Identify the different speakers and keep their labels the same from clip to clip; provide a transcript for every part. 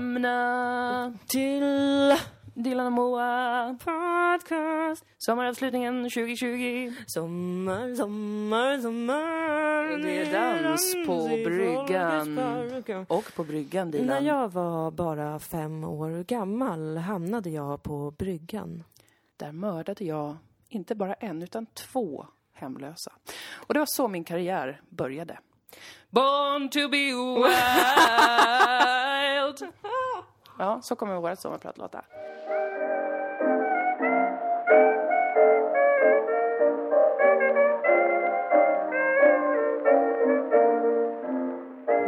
Speaker 1: Välkomna till Dilan och Moa podcast. Sommaravslutningen 2020.
Speaker 2: Sommar, sommar, sommar.
Speaker 1: Det är dans på
Speaker 2: Dans i
Speaker 1: bryggan.
Speaker 2: folkets park.
Speaker 1: Och på bryggan
Speaker 2: När
Speaker 1: Dilan.
Speaker 2: jag var bara fem år gammal hamnade jag på bryggan.
Speaker 1: Där mördade jag inte bara en utan två hemlösa. Och det var så min karriär började. Born to be wild. ja, så kommer vårt sommarprat låta.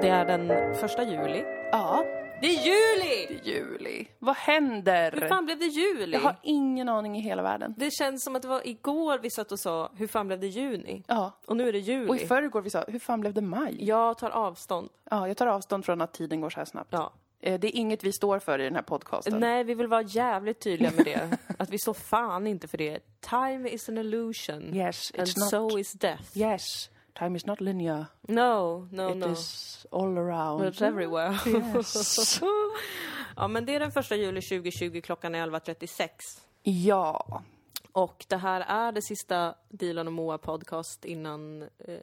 Speaker 2: Det är den första juli.
Speaker 1: Ja,
Speaker 2: Det är juli!
Speaker 1: juli. Vad händer?
Speaker 2: Hur fan blev det juli?
Speaker 1: Jag har ingen aning i hela världen.
Speaker 2: Det känns som att det var igår vi satt och sa, hur fan blev det juni?
Speaker 1: Ja.
Speaker 2: Och nu är det
Speaker 1: Och
Speaker 2: juli.
Speaker 1: i förrgår vi sa, hur fan blev det maj?
Speaker 2: Jag tar avstånd.
Speaker 1: Ja, jag tar avstånd från att tiden går så här snabbt.
Speaker 2: Ja.
Speaker 1: Eh, Det är inget vi står för i den här podcasten.
Speaker 2: Nej, vi vill vara jävligt tydliga med det. Att vi står fan inte för det. Time is an illusion.
Speaker 1: Yes,
Speaker 2: And
Speaker 1: it's not.
Speaker 2: so is death.
Speaker 1: Yes, time is not linear.
Speaker 2: No, no,
Speaker 1: It
Speaker 2: no.
Speaker 1: is all around.
Speaker 2: It's everywhere.
Speaker 1: Yes.
Speaker 2: ja, men det är den första juli 2020, klockan är 11.36.
Speaker 1: ja.
Speaker 2: Och det här är det sista Dilan och Moa podcast innan eh,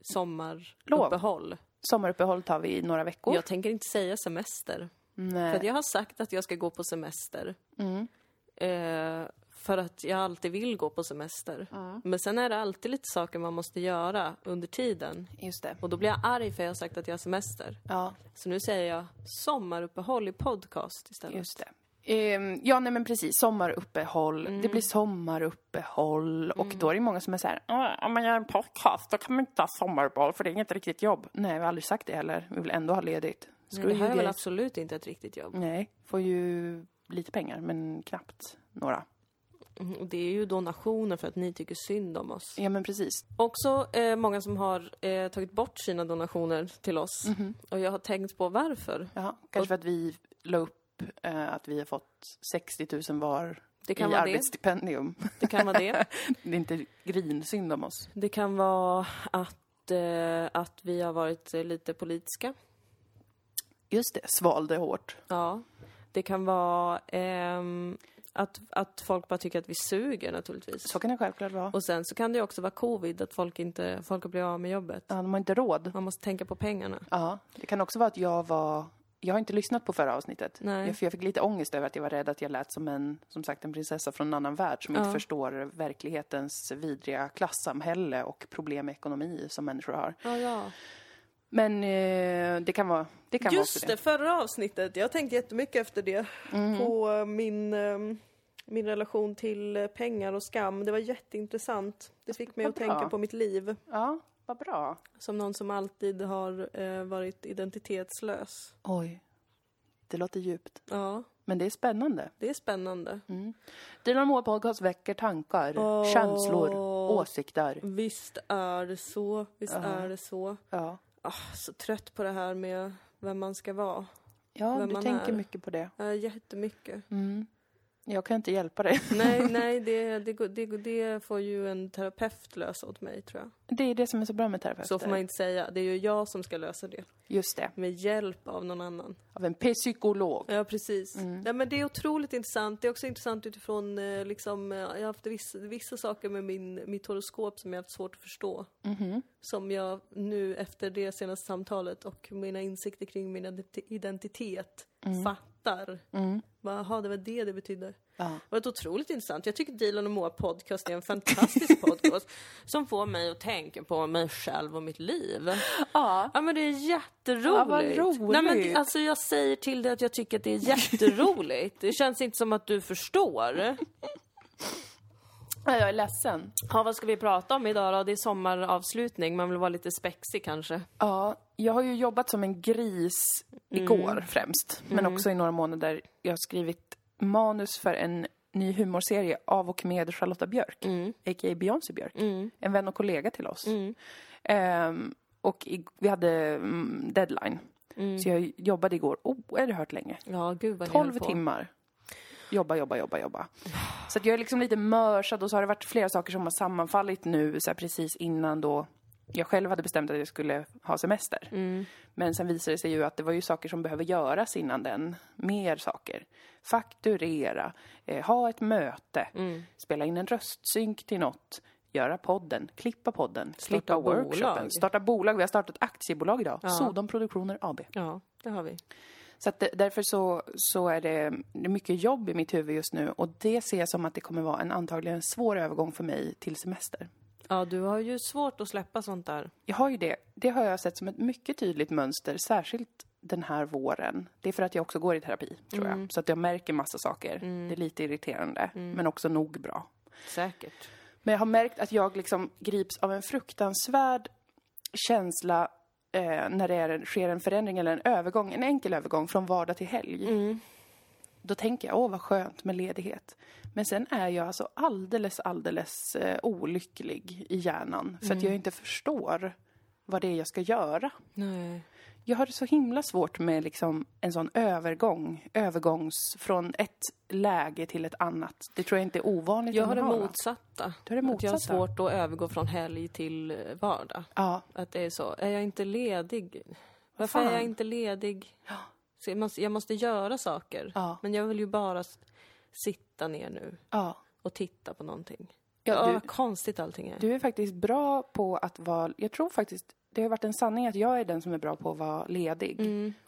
Speaker 2: sommaruppehåll.
Speaker 1: Sommaruppehåll tar vi i några veckor.
Speaker 2: Jag tänker inte säga semester. För att
Speaker 1: Nej. Mm.
Speaker 2: jag har sagt att jag ska gå på semester. Eh, för att jag alltid vill gå på semester. Men sen är det alltid lite saker man måste göra under tiden.
Speaker 1: Just det.
Speaker 2: Och då blir jag arg för jag har sagt att jag har semester.
Speaker 1: Ja,
Speaker 2: Så nu säger jag sommaruppehåll i podcast istället.
Speaker 1: just det. Ehm, ja, nej men precis. Sommaruppehåll.
Speaker 2: Mm.
Speaker 1: Det blir sommaruppehåll. Och då är det många som är så här, "Ah, om man gör en podcast då kan man inte ha sommaruppehåll för det är inget riktigt jobb. Nej, vi har aldrig sagt det heller. Vi vill ändå ha ledigt. Screw
Speaker 2: Men det här
Speaker 1: you
Speaker 2: är väl alltså-
Speaker 1: guys.
Speaker 2: absolut inte ett riktigt jobb.
Speaker 1: Nej, får ju lite pengar men knappt några.
Speaker 2: Mm, Och det är ju donationer för att ni tycker synd om oss.
Speaker 1: Ja men precis.
Speaker 2: Också eh, många som har eh, tagit bort sina donationer till oss. Och jag har tänkt på varför.
Speaker 1: Jaha, kanske för att vi la upp eh, att vi har fått 60 000 var
Speaker 2: Det kan
Speaker 1: i
Speaker 2: vara det.
Speaker 1: arbetsstipendium.
Speaker 2: Det kan vara det.
Speaker 1: Det. är inte grinsynd om oss.
Speaker 2: Det kan vara att, eh, att vi har varit eh, lite politiska.
Speaker 1: Just det, svalde hårt.
Speaker 2: Ja. Det kan vara ehm, att, att folk bara tycker att vi suger naturligtvis.
Speaker 1: Så kan det självklart vara.
Speaker 2: Och sen så kan det ju också vara covid, att folk inte, folk har blivit av med jobbet.
Speaker 1: Ja, de har inte råd.
Speaker 2: Man måste tänka på pengarna.
Speaker 1: Ja, det kan också vara att jag var... Jag har inte lyssnat på förra avsnittet.
Speaker 2: Nej.
Speaker 1: Jag, för jag fick lite ångest över att jag var rädd att jag lät som en, som sagt, en prinsessa från en annan värld som inte förstår verklighetens vidriga klassamhälle och problem med ekonomi som människor har.
Speaker 2: Ja, ja.
Speaker 1: Men eh, det kan vara, det kan vara
Speaker 2: Just
Speaker 1: också
Speaker 2: det, förra avsnittet. Jag tänkte jättemycket efter det på eh, min, ehm, min relation till eh, pengar och skam. Det var jätteintressant. Det fick mig
Speaker 1: vad
Speaker 2: att tänka
Speaker 1: bra.
Speaker 2: på mitt liv
Speaker 1: Ja, vad bra.
Speaker 2: som någon som alltid har eh, varit identitetslös.
Speaker 1: Oj, det låter djupt.
Speaker 2: Ja,
Speaker 1: Men det är spännande.
Speaker 2: det är spännande.
Speaker 1: Dilan och Moa podcast väcker tankar, känslor, åsikter.
Speaker 2: Visst är det så. Visst är det så.
Speaker 1: Ja,
Speaker 2: Ah, så trött på det här med vem man ska vara.
Speaker 1: ja
Speaker 2: Vem
Speaker 1: du
Speaker 2: man
Speaker 1: tänker
Speaker 2: är.
Speaker 1: mycket på det. Mm.
Speaker 2: Uh, jättemycket.
Speaker 1: Jag kan inte hjälpa dig.
Speaker 2: Nej, nej, det, det, går- det, går- det får ju en terapeut lösa åt mig tror jag.
Speaker 1: Det är det som är så bra med terapeuter.
Speaker 2: Så får man inte säga. Det är ju jag som ska lösa det.
Speaker 1: Just det,
Speaker 2: Med hjälp av någon annan. Mm.
Speaker 1: av en psykolog.
Speaker 2: Ja, precis. Nej, men det är otroligt intressant. Det är också intressant utifrån, eh, liksom, eh, jag har haft vissa, vissa saker med min, mitt horoskop som jag har haft svårt att förstå. Som jag nu efter det senaste samtalet och mina insikter kring min identi- identitet fattar. Mm. Jaha, det var det det betydde.
Speaker 1: Ja.
Speaker 2: Det var ett otroligt intressant. Jag tycker Dilan och Moa podcast är en fantastisk podcast som får mig att tänka på mig själv och mitt liv.
Speaker 1: Ja.
Speaker 2: Ja men det är jätteroligt.
Speaker 1: Ja, vad roligt.
Speaker 2: Nej, men, det- alltså, jag säger till dig att jag tycker att det är jätteroligt. det känns inte som att du förstår.
Speaker 1: ja, jag är ledsen.
Speaker 2: Ja, vad ska vi prata om idag då? Det är sommaravslutning, man vill vara lite spexig kanske.
Speaker 1: Ja, jag har ju jobbat som en gris igår främst, men också i några månader. Jag har skrivit manus för en ny humorserie av och med Charlotta Björk, a.k.a. Beyoncé Björk, en vän och kollega till oss. Ehm, och i, vi hade mm, deadline, så jag jobbade igår oerhört länge.
Speaker 2: Ja, gud vad ni höll
Speaker 1: 12
Speaker 2: på.
Speaker 1: timmar. Jobba, jobba, jobba, jobba. Så att jag är liksom lite mörsad och så har det varit flera saker som har
Speaker 2: Mm.
Speaker 1: sammanfallit nu så här precis innan då jag själv hade bestämt att jag skulle ha semester. Men sen visar det sig ju att det var ju saker som behöver göras innan den. Mer saker. Fakturera, eh, ha ett möte,
Speaker 2: Mm.
Speaker 1: spela in en röstsynk till något, göra podden, klippa podden, klippa
Speaker 2: bolag.
Speaker 1: workshopen, starta bolag. Vi har startat aktiebolag idag, Sodom Produktioner AB.
Speaker 2: Ja, det har vi.
Speaker 1: Så att det, därför så, så är det det är mycket jobb i mitt huvud just nu och det ser jag som att det kommer vara en antagligen svår övergång för mig till semester.
Speaker 2: Ja, du har ju svårt att släppa sånt där.
Speaker 1: Jag har ju det. Det har jag sett som ett mycket tydligt mönster, särskilt den här våren. Det är för att jag också går i terapi, tror jag. Så att jag märker massa saker. Det är lite irriterande, men också nog bra.
Speaker 2: Säkert.
Speaker 1: Men jag har märkt att jag liksom grips av en fruktansvärd känsla eh, när det är, sker en förändring eller en övergång, en enkel övergång från vardag till helg.
Speaker 2: Mm.
Speaker 1: Då tänker jag, åh vad skönt med ledighet. Men sen är jag alltså alldeles, alldeles eh, olycklig i hjärnan för att
Speaker 2: Mm.
Speaker 1: jag inte förstår vad det är jag ska göra.
Speaker 2: Nej.
Speaker 1: Jag har det så himla svårt med liksom en sån övergång, övergångs från ett läge till ett annat. Det tror jag inte är ovanligt.
Speaker 2: Jag
Speaker 1: att
Speaker 2: har det
Speaker 1: man va?
Speaker 2: motsatta.
Speaker 1: Du har det
Speaker 2: Att jag har
Speaker 1: motsatta.
Speaker 2: svårt att övergå från helg till eh, vardag.
Speaker 1: Ja,
Speaker 2: Att det är så. Är jag inte ledig? Varför
Speaker 1: fan?
Speaker 2: är jag inte ledig? Så jag, måste, jag måste göra saker.
Speaker 1: Ja.
Speaker 2: Men jag vill ju bara s- sitta ner nu
Speaker 1: ja.
Speaker 2: och titta på någonting.
Speaker 1: Ja,
Speaker 2: Ja,
Speaker 1: du-
Speaker 2: vad konstigt allting är.
Speaker 1: Du är faktiskt bra på att vara... Jag tror faktiskt... Det har varit en sanning att jag är den som är bra på att vara ledig.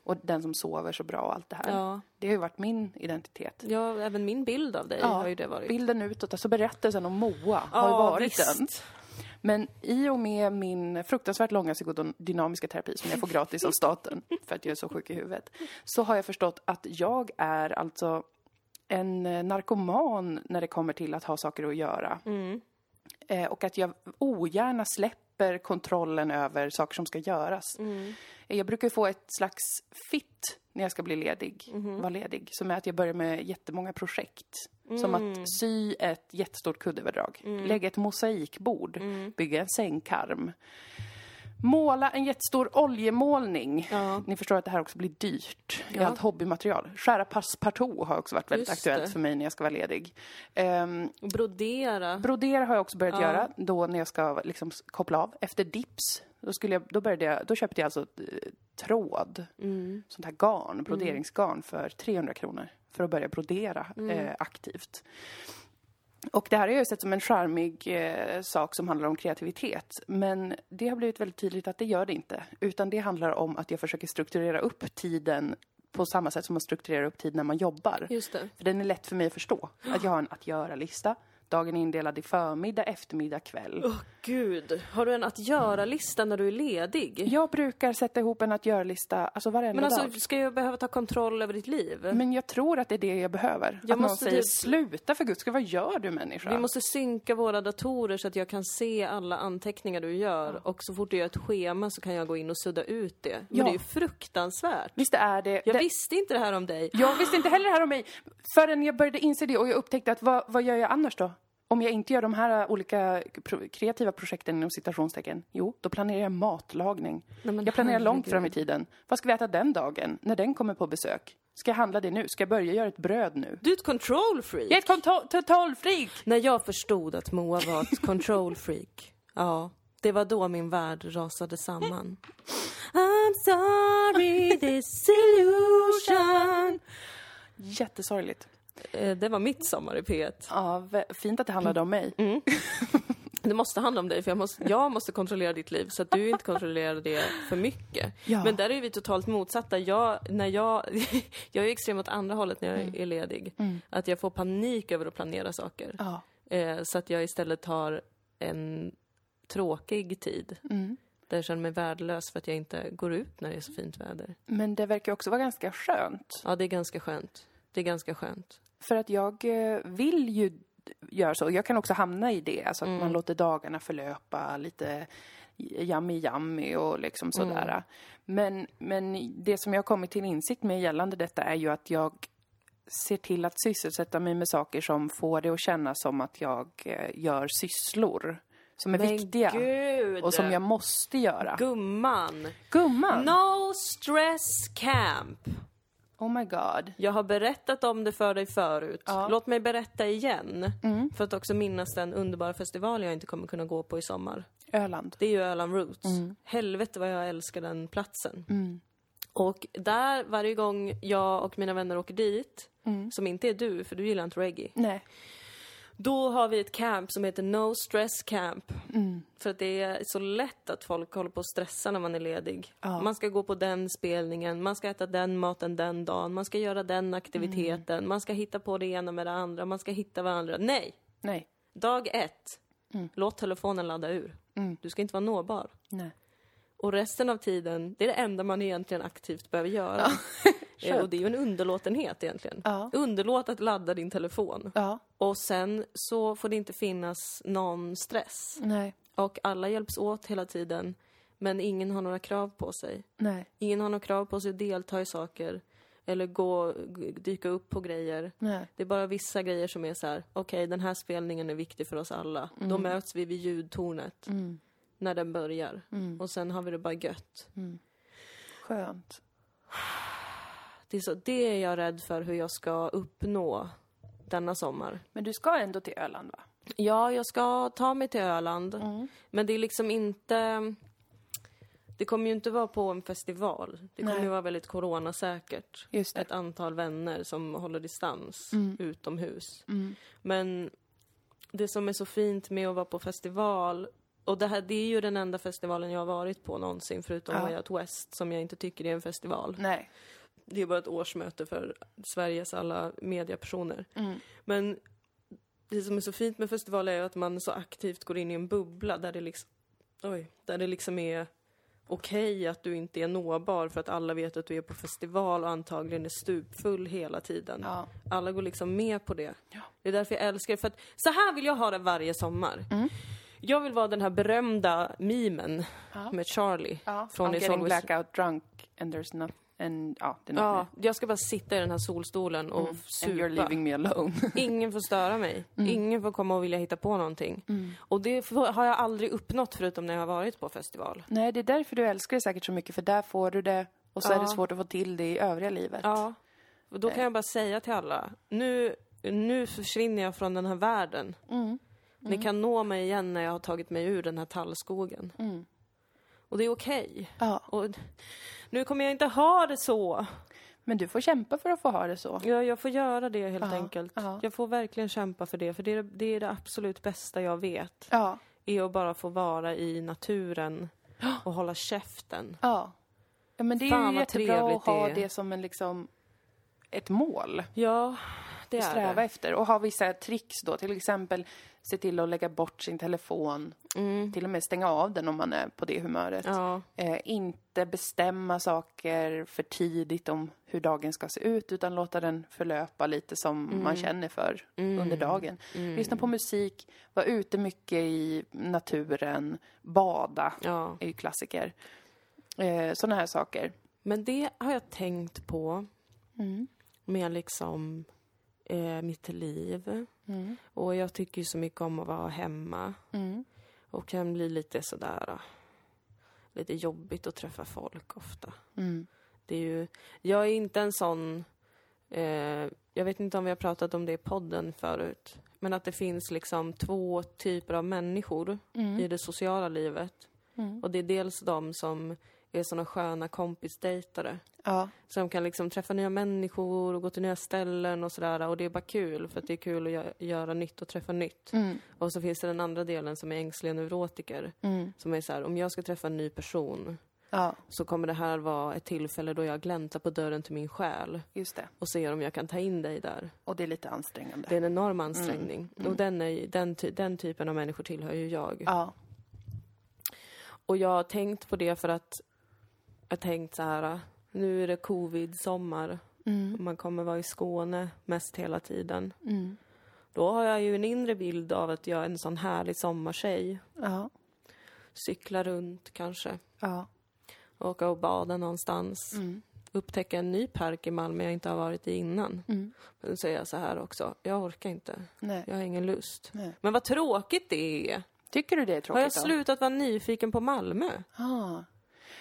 Speaker 1: Och den som sover så bra och allt det här.
Speaker 2: Mm. Ja.
Speaker 1: Det har ju varit min identitet.
Speaker 2: ja, även min bild av dig har ju det varit.
Speaker 1: Bilden utåt, alltså berättelsen om Moa har ju
Speaker 2: Ja,
Speaker 1: varit
Speaker 2: visst.
Speaker 1: den. Men i och med min fruktansvärt långa psykodynamiska terapi som jag får gratis av staten för att jag är så sjuk i huvudet, så har jag förstått att jag är alltså en eh, narkoman när det kommer till att ha saker att göra. Eh, och att jag ogärna släpper kontrollen över saker som ska göras.
Speaker 2: Mm.
Speaker 1: Eh, Jag brukar få ett slags fit när jag ska bli ledig,
Speaker 2: Mm-hmm.
Speaker 1: vara ledig, som är att jag börjar med jättemånga projekt. Som
Speaker 2: Mm.
Speaker 1: att sy ett jättestort kuddöverdrag, lägga ett mosaikbord,
Speaker 2: Mm.
Speaker 1: bygga en sängkarm. Måla en jättestor oljemålning. Ni förstår att det här också blir dyrt. Det är allt hobbymaterial. Skära passepartout har också varit väldigt
Speaker 2: Just
Speaker 1: aktuellt
Speaker 2: det.
Speaker 1: för mig när jag ska vara ledig. Ehm,
Speaker 2: Och Brodera.
Speaker 1: Brodera har jag också börjat göra då när jag ska liksom s- koppla av. Efter dips, då, skulle jag, då, började jag, då köpte jag alltså eh, tråd,
Speaker 2: Mm.
Speaker 1: sånt här garn, broderingsgarn för 300 kronor för att börja brodera eh, aktivt. Och det här har jag ju sett som en charmig eh, sak som handlar om kreativitet. Men det har blivit väldigt tydligt att det gör det inte. Utan det handlar om att jag försöker strukturera upp tiden på samma sätt som man strukturerar upp tid när man jobbar.
Speaker 2: Just det.
Speaker 1: För den är lätt för mig att förstå. Att jag har en att göra-lista. Dagen är indelad i förmiddag, eftermiddag, kväll.
Speaker 2: Åh gud, har du en att göra-lista när du är ledig?
Speaker 1: Jag brukar sätta ihop en att göra-lista alltså varenda
Speaker 2: Men
Speaker 1: dag.
Speaker 2: alltså, ska jag behöva ta kontroll över ditt liv?
Speaker 1: Men jag tror att det är det jag behöver.
Speaker 2: Jag
Speaker 1: att någon
Speaker 2: måste
Speaker 1: säger
Speaker 2: typ-
Speaker 1: sluta för guds skull, vad gör du människa?
Speaker 2: Vi måste synka våra datorer så att jag kan se alla anteckningar du gör och så fort du gör ett schema så kan jag gå in och sudda ut det. Men
Speaker 1: Ja.
Speaker 2: det är ju fruktansvärt.
Speaker 1: Visst är det...
Speaker 2: Jag
Speaker 1: det...
Speaker 2: visste inte det här om dig.
Speaker 1: Jag visste inte heller det här om mig förrän jag började inse det och jag upptäckte att vad, vad gör jag annars då? Om jag inte gör de här olika pro- kreativa projekten inom citationstecken, jo, då planerar jag matlagning.
Speaker 2: Nej, men
Speaker 1: jag planerar långt
Speaker 2: herregud.
Speaker 1: fram i tiden. Vad ska vi äta den dagen? När den kommer på besök? Ska jag handla det nu? Ska jag börja göra ett bröd nu?
Speaker 2: Du är ett control freak.
Speaker 1: Jag är ett konto- totalfreak!
Speaker 2: När jag förstod att Moa var ett control freak, ja, det var då min värld rasade samman. I'm sorry this illusion.
Speaker 1: Jättesorgligt.
Speaker 2: Eh, Det var mitt sommar i P1.
Speaker 1: Ja, v- fint att det handlade om mig.
Speaker 2: Mm. Det måste handla om dig, för jag måste, jag måste kontrollera ditt liv så att du inte kontrollerar det för mycket.
Speaker 1: Ja.
Speaker 2: Men där är vi totalt motsatta. Jag, när jag, jag är extrem åt andra hållet när jag
Speaker 1: Mm.
Speaker 2: är ledig. Att jag får panik över att planera saker.
Speaker 1: Ja.
Speaker 2: Eh, så att jag istället har en tråkig tid.
Speaker 1: Mm.
Speaker 2: Där jag känner mig värdelös för att jag inte går ut när det är så fint väder.
Speaker 1: Men det verkar också vara ganska skönt.
Speaker 2: Ja, det är ganska skönt. Det är ganska skönt.
Speaker 1: För att jag eh, vill ju d- göra så. Jag kan också hamna i det, alltså att man låter dagarna förlöpa lite yummy yummy och liksom sådär. Men, men det som jag har kommit till insikt med gällande detta är ju att jag ser till att sysselsätta mig med saker som får det att kännas som att jag eh, gör sysslor som är viktiga
Speaker 2: gud!
Speaker 1: och som jag måste göra.
Speaker 2: Gumman!
Speaker 1: Gumman!
Speaker 2: No stress camp!
Speaker 1: Oh my god.
Speaker 2: Jag har berättat om det för dig förut. Låt mig berätta igen. För att också minnas den underbara festival jag inte kommer kunna gå på i sommar.
Speaker 1: Öland.
Speaker 2: Det är ju Öland Roots. Helvete vad jag älskar den platsen. Och där, varje gång jag och mina vänner åker dit, som inte är du, för du gillar inte reggae,
Speaker 1: Nej.
Speaker 2: då har vi ett camp som heter No Stress Camp.
Speaker 1: Mm.
Speaker 2: För att det är så lätt att folk håller på att stressa när man är ledig.
Speaker 1: Ja.
Speaker 2: Man ska gå på den spelningen, man ska äta den maten den dagen, man ska göra den aktiviteten,
Speaker 1: Mm.
Speaker 2: man ska hitta på det ena med det andra, man ska hitta varandra. Nej!
Speaker 1: Nej.
Speaker 2: Dag ett,
Speaker 1: Mm.
Speaker 2: låt telefonen ladda ur. Du ska inte vara nåbar.
Speaker 1: Nej.
Speaker 2: Och resten av tiden, det är det enda man egentligen aktivt behöver göra. Eh, och det är ju en underlåtenhet egentligen.
Speaker 1: Ja.
Speaker 2: Underlåt att ladda din telefon.
Speaker 1: Ja.
Speaker 2: Och sen så får det inte finnas någon stress.
Speaker 1: Nej.
Speaker 2: Och alla hjälps åt hela tiden, men ingen har några krav på sig.
Speaker 1: Nej.
Speaker 2: Ingen har några krav på sig att delta i saker eller gå, g- dyka upp på grejer.
Speaker 1: Nej.
Speaker 2: Det är bara vissa grejer som är så här, okej den här spelningen är viktig för oss alla. Då möts vi vid ljudtornet
Speaker 1: Mm.
Speaker 2: när den börjar. Och sen har vi det bara gött.
Speaker 1: Mm. Skönt.
Speaker 2: Det är, så, det är jag rädd för hur jag ska uppnå denna sommar.
Speaker 1: Men du ska ändå till Öland va?
Speaker 2: Ja, jag ska ta mig till Öland.
Speaker 1: Mm.
Speaker 2: Men det är liksom inte... Det kommer ju inte vara på en festival. Det kommer
Speaker 1: Nej.
Speaker 2: ju vara väldigt coronasäkert.
Speaker 1: Just det.
Speaker 2: Ett antal vänner som håller distans
Speaker 1: Mm.
Speaker 2: utomhus. Men det som är så fint med att vara på festival och det, här, det är ju den enda festivalen jag har varit på någonsin förutom
Speaker 1: Ja.
Speaker 2: Way Out West som jag inte tycker är en festival
Speaker 1: Nej.
Speaker 2: det är bara ett årsmöte för Sveriges alla mediapersoner.
Speaker 1: Mm.
Speaker 2: Men det som är så fint med festivaler är ju att man så aktivt går in i en bubbla där det liksom, oj, där det liksom är okej att du inte är nåbar för att alla vet att du är på festival och antagligen är stupfull hela tiden.
Speaker 1: Ja.
Speaker 2: Alla går liksom med på det. Det är därför jag älskar det. För att så här vill jag ha det varje sommar.
Speaker 1: Mm.
Speaker 2: Jag vill vara den här berömda mimen med Charlie
Speaker 1: ja.
Speaker 2: från
Speaker 1: I'm
Speaker 2: It's
Speaker 1: getting
Speaker 2: Always
Speaker 1: blackout drunk and there's not... And, ja, det är
Speaker 2: Ja,
Speaker 1: något
Speaker 2: jag ska bara sitta i den här solstolen och
Speaker 1: mer. Mm. And you're
Speaker 2: supa.
Speaker 1: leaving Mm. me alone.
Speaker 2: Ingen får störa mig. Ingen får komma och vilja hitta på någonting.
Speaker 1: Mm.
Speaker 2: Och det får- har jag aldrig uppnått förutom när jag har varit på festival.
Speaker 1: Nej, det är därför du älskar det säkert så mycket, för där får du det och så är
Speaker 2: Ja.
Speaker 1: det svårt att få till det i övriga livet.
Speaker 2: Ja. Och
Speaker 1: Eh.
Speaker 2: då kan jag bara säga till alla, nu, nu försvinner jag från den här världen.
Speaker 1: Mm.
Speaker 2: Ni kan nå mig igen när jag har tagit mig ur den här tallskogen. Och det är okej.
Speaker 1: Mm. Ja.
Speaker 2: Och nu kommer jag inte ha det så.
Speaker 1: Men du får kämpa för att få ha det så.
Speaker 2: Ja, jag får göra det helt
Speaker 1: Ja,
Speaker 2: enkelt.
Speaker 1: ja.
Speaker 2: Jag får verkligen kämpa för det, för det är det, är det absolut bästa jag vet.
Speaker 1: Ja.
Speaker 2: Är att bara få vara i naturen och hålla käften.
Speaker 1: Ja. ja men det är
Speaker 2: Fan, vad
Speaker 1: ju jättebra
Speaker 2: trevligt
Speaker 1: att ha
Speaker 2: det är.
Speaker 1: det som en liksom ett mål
Speaker 2: Ja, det
Speaker 1: att
Speaker 2: är
Speaker 1: sträva
Speaker 2: det.
Speaker 1: efter och ha vissa tricks då, till exempel se till att lägga bort sin telefon, till och med stänga av den om man är på det humöret.
Speaker 2: Mm. Ja.
Speaker 1: Eh, inte bestämma saker för tidigt om hur dagen ska se ut utan låta den förlöpa lite som
Speaker 2: Mm.
Speaker 1: man känner för under dagen. Lyssna på musik, vara ute mycket i naturen, bada
Speaker 2: Ja.
Speaker 1: är ju klassiker. Eh, Sådana här saker. Mm.
Speaker 2: Men det har jag tänkt på med liksom eh, mitt liv.
Speaker 1: Mm.
Speaker 2: Och jag tycker ju så mycket om att vara hemma. Och kan bli lite sådär eh, lite jobbigt att träffa folk ofta. Det är ju, jag är inte en sån, eh, jag vet inte om vi har pratat om det i podden förut, men att det finns liksom två typer av människor i det sociala livet. Och det är dels de som är såna sköna kompisdejtare.
Speaker 1: Ja.
Speaker 2: Som kan liksom träffa nya människor och gå till nya ställen och sådär. Och det är bara kul, för att det är kul att gö- göra nytt och träffa nytt.
Speaker 1: Mm.
Speaker 2: Och så finns det den andra delen som är ängsliga neurotiker. Som är så här, om jag ska träffa en ny person
Speaker 1: Mm. ja,
Speaker 2: så kommer det här vara ett tillfälle då jag gläntar på dörren till min själ
Speaker 1: just det.
Speaker 2: och ser om jag kan ta in dig där.
Speaker 1: Och det är lite ansträngande.
Speaker 2: Det är en enorm ansträngning. Och den, är, ju- den, ty- den typen av människor tillhör ju jag.
Speaker 1: Ja.
Speaker 2: Och jag har tänkt på det för att jag har tänkt så här, nu är det covid-sommar. Man kommer vara i Skåne mest hela tiden. Då har jag ju en inre bild av att jag är en sån härlig sommartjej.
Speaker 1: Ja.
Speaker 2: Cykla runt kanske,
Speaker 1: Ja.
Speaker 2: åka och bada någonstans.
Speaker 1: Mm.
Speaker 2: Upptäcka en ny park i Malmö jag inte har varit i innan.
Speaker 1: Mm.
Speaker 2: Men så är jag så här också, jag orkar inte.
Speaker 1: Nej.
Speaker 2: Jag har ingen lust.
Speaker 1: Nej.
Speaker 2: Men vad tråkigt det är!
Speaker 1: Tycker du det är tråkigt?
Speaker 2: Har jag
Speaker 1: då?
Speaker 2: slutat vara nyfiken på Malmö?
Speaker 1: Ja.